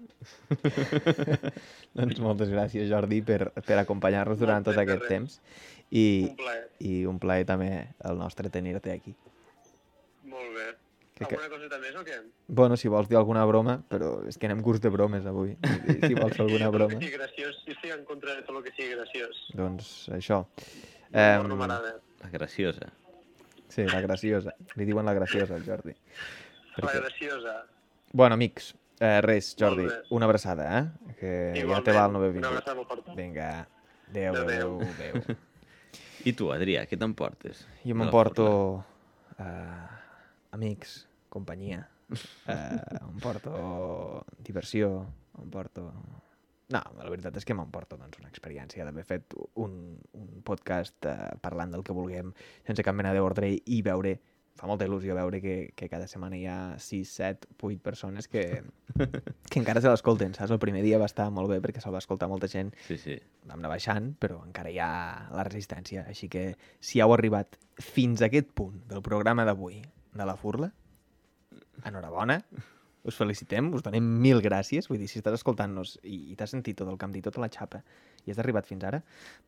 [SPEAKER 1] Doncs moltes gràcies, Jordi, per, per acompanyar-nos durant tot
[SPEAKER 3] Moltes
[SPEAKER 1] aquest
[SPEAKER 3] res.
[SPEAKER 1] temps. I,
[SPEAKER 3] Un plaer.
[SPEAKER 1] I un plaer també el nostre tenir-te aquí.
[SPEAKER 3] Molt bé.
[SPEAKER 1] Que- que-
[SPEAKER 3] Alguna coseta més o què?
[SPEAKER 1] Bueno, si vols dir alguna broma, però és que anem curs de bromes avui. Vull dir, Si vols fer alguna
[SPEAKER 3] Tot el que
[SPEAKER 1] broma,
[SPEAKER 3] sigui graciós, jo estic en contra de tot el que sigui graciós.
[SPEAKER 1] doncs això.
[SPEAKER 3] L'humor
[SPEAKER 1] Em,
[SPEAKER 3] no m'agrada.
[SPEAKER 2] La graciosa.
[SPEAKER 1] sí, la graciosa. Li diuen la graciosa al Jordi.
[SPEAKER 3] La
[SPEAKER 1] Perquè...
[SPEAKER 3] graciosa.
[SPEAKER 1] Bueno, amics, eh, res, Jordi,
[SPEAKER 3] Molt bé.
[SPEAKER 1] una abraçada, eh? Que ja te
[SPEAKER 3] Igualment,
[SPEAKER 1] va el nou
[SPEAKER 3] Una
[SPEAKER 1] vingut.
[SPEAKER 3] abraçada molt forta.
[SPEAKER 1] Vinga, adéu, adéu,
[SPEAKER 3] Adéu.
[SPEAKER 1] adéu.
[SPEAKER 2] I tu, Adrià, què t'emportes?
[SPEAKER 1] Jo
[SPEAKER 2] de la
[SPEAKER 1] m'emporto uh, amics, companyia, uh, em porto diversió, em porto... No, la veritat és que m'emporto doncs, una experiència d'haver fet un, un podcast uh, parlant del que vulguem sense cap mena d'ordre i veure fa molta il·lusió veure que, que cada setmana hi ha 6, 7, 8 persones que, que encara se l'escolten, saps? El primer dia va estar molt bé perquè se'l va escoltar molta gent
[SPEAKER 2] Sí, sí.
[SPEAKER 1] vam anar baixant, però encara hi ha la resistència. Així que si heu arribat fins a aquest punt del programa d'avui de la Furla, enhorabona, us felicitem, us donem mil gràcies. Vull dir, si estàs escoltant-nos i, i t'has sentit tot el que hem dit, tota la xapa, i has arribat fins ara,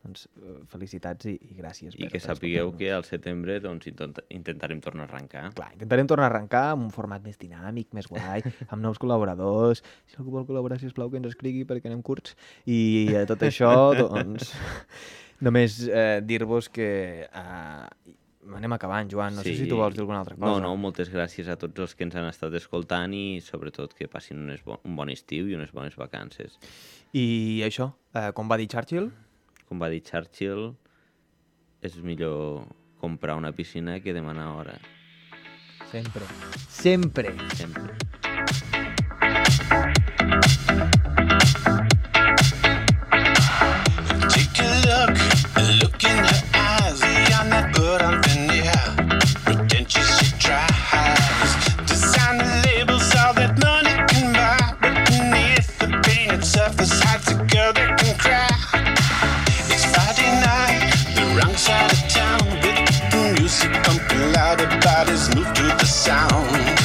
[SPEAKER 1] doncs eh, felicitats i, i gràcies.
[SPEAKER 2] I que sapigueu que al setembre doncs, intenta- intentarem tornar a arrencar.
[SPEAKER 1] Clar, intentarem tornar a arrencar amb un format més dinàmic, més guai, amb nous col·laboradors. Si algú vol col·laborar, sisplau, que ens escrigui perquè anem curts. I eh, tot això, doncs, només eh, dir-vos que eh, anem acabant, Joan. No sí. sé si tu vols dir alguna altra cosa.
[SPEAKER 2] No, no, moltes gràcies a tots els que ens han estat escoltant i sobretot que passin unes bo un bon estiu i unes bones vacances.
[SPEAKER 1] I això, eh, com va dir Churchill,
[SPEAKER 2] Com va dir Churchill, és millor comprar una piscina que demanar hora,
[SPEAKER 1] sempre, sempre.
[SPEAKER 2] sempre.
[SPEAKER 4] Take a look, a look in her eyes. I'm not put on thin air. Pretentious she tries. Design the labels all that money can buy. But beneath the painted surface hides a girl that can cry. It's Friday night, the wrong side of town. With the music pumping loud, the bodies move to the sound.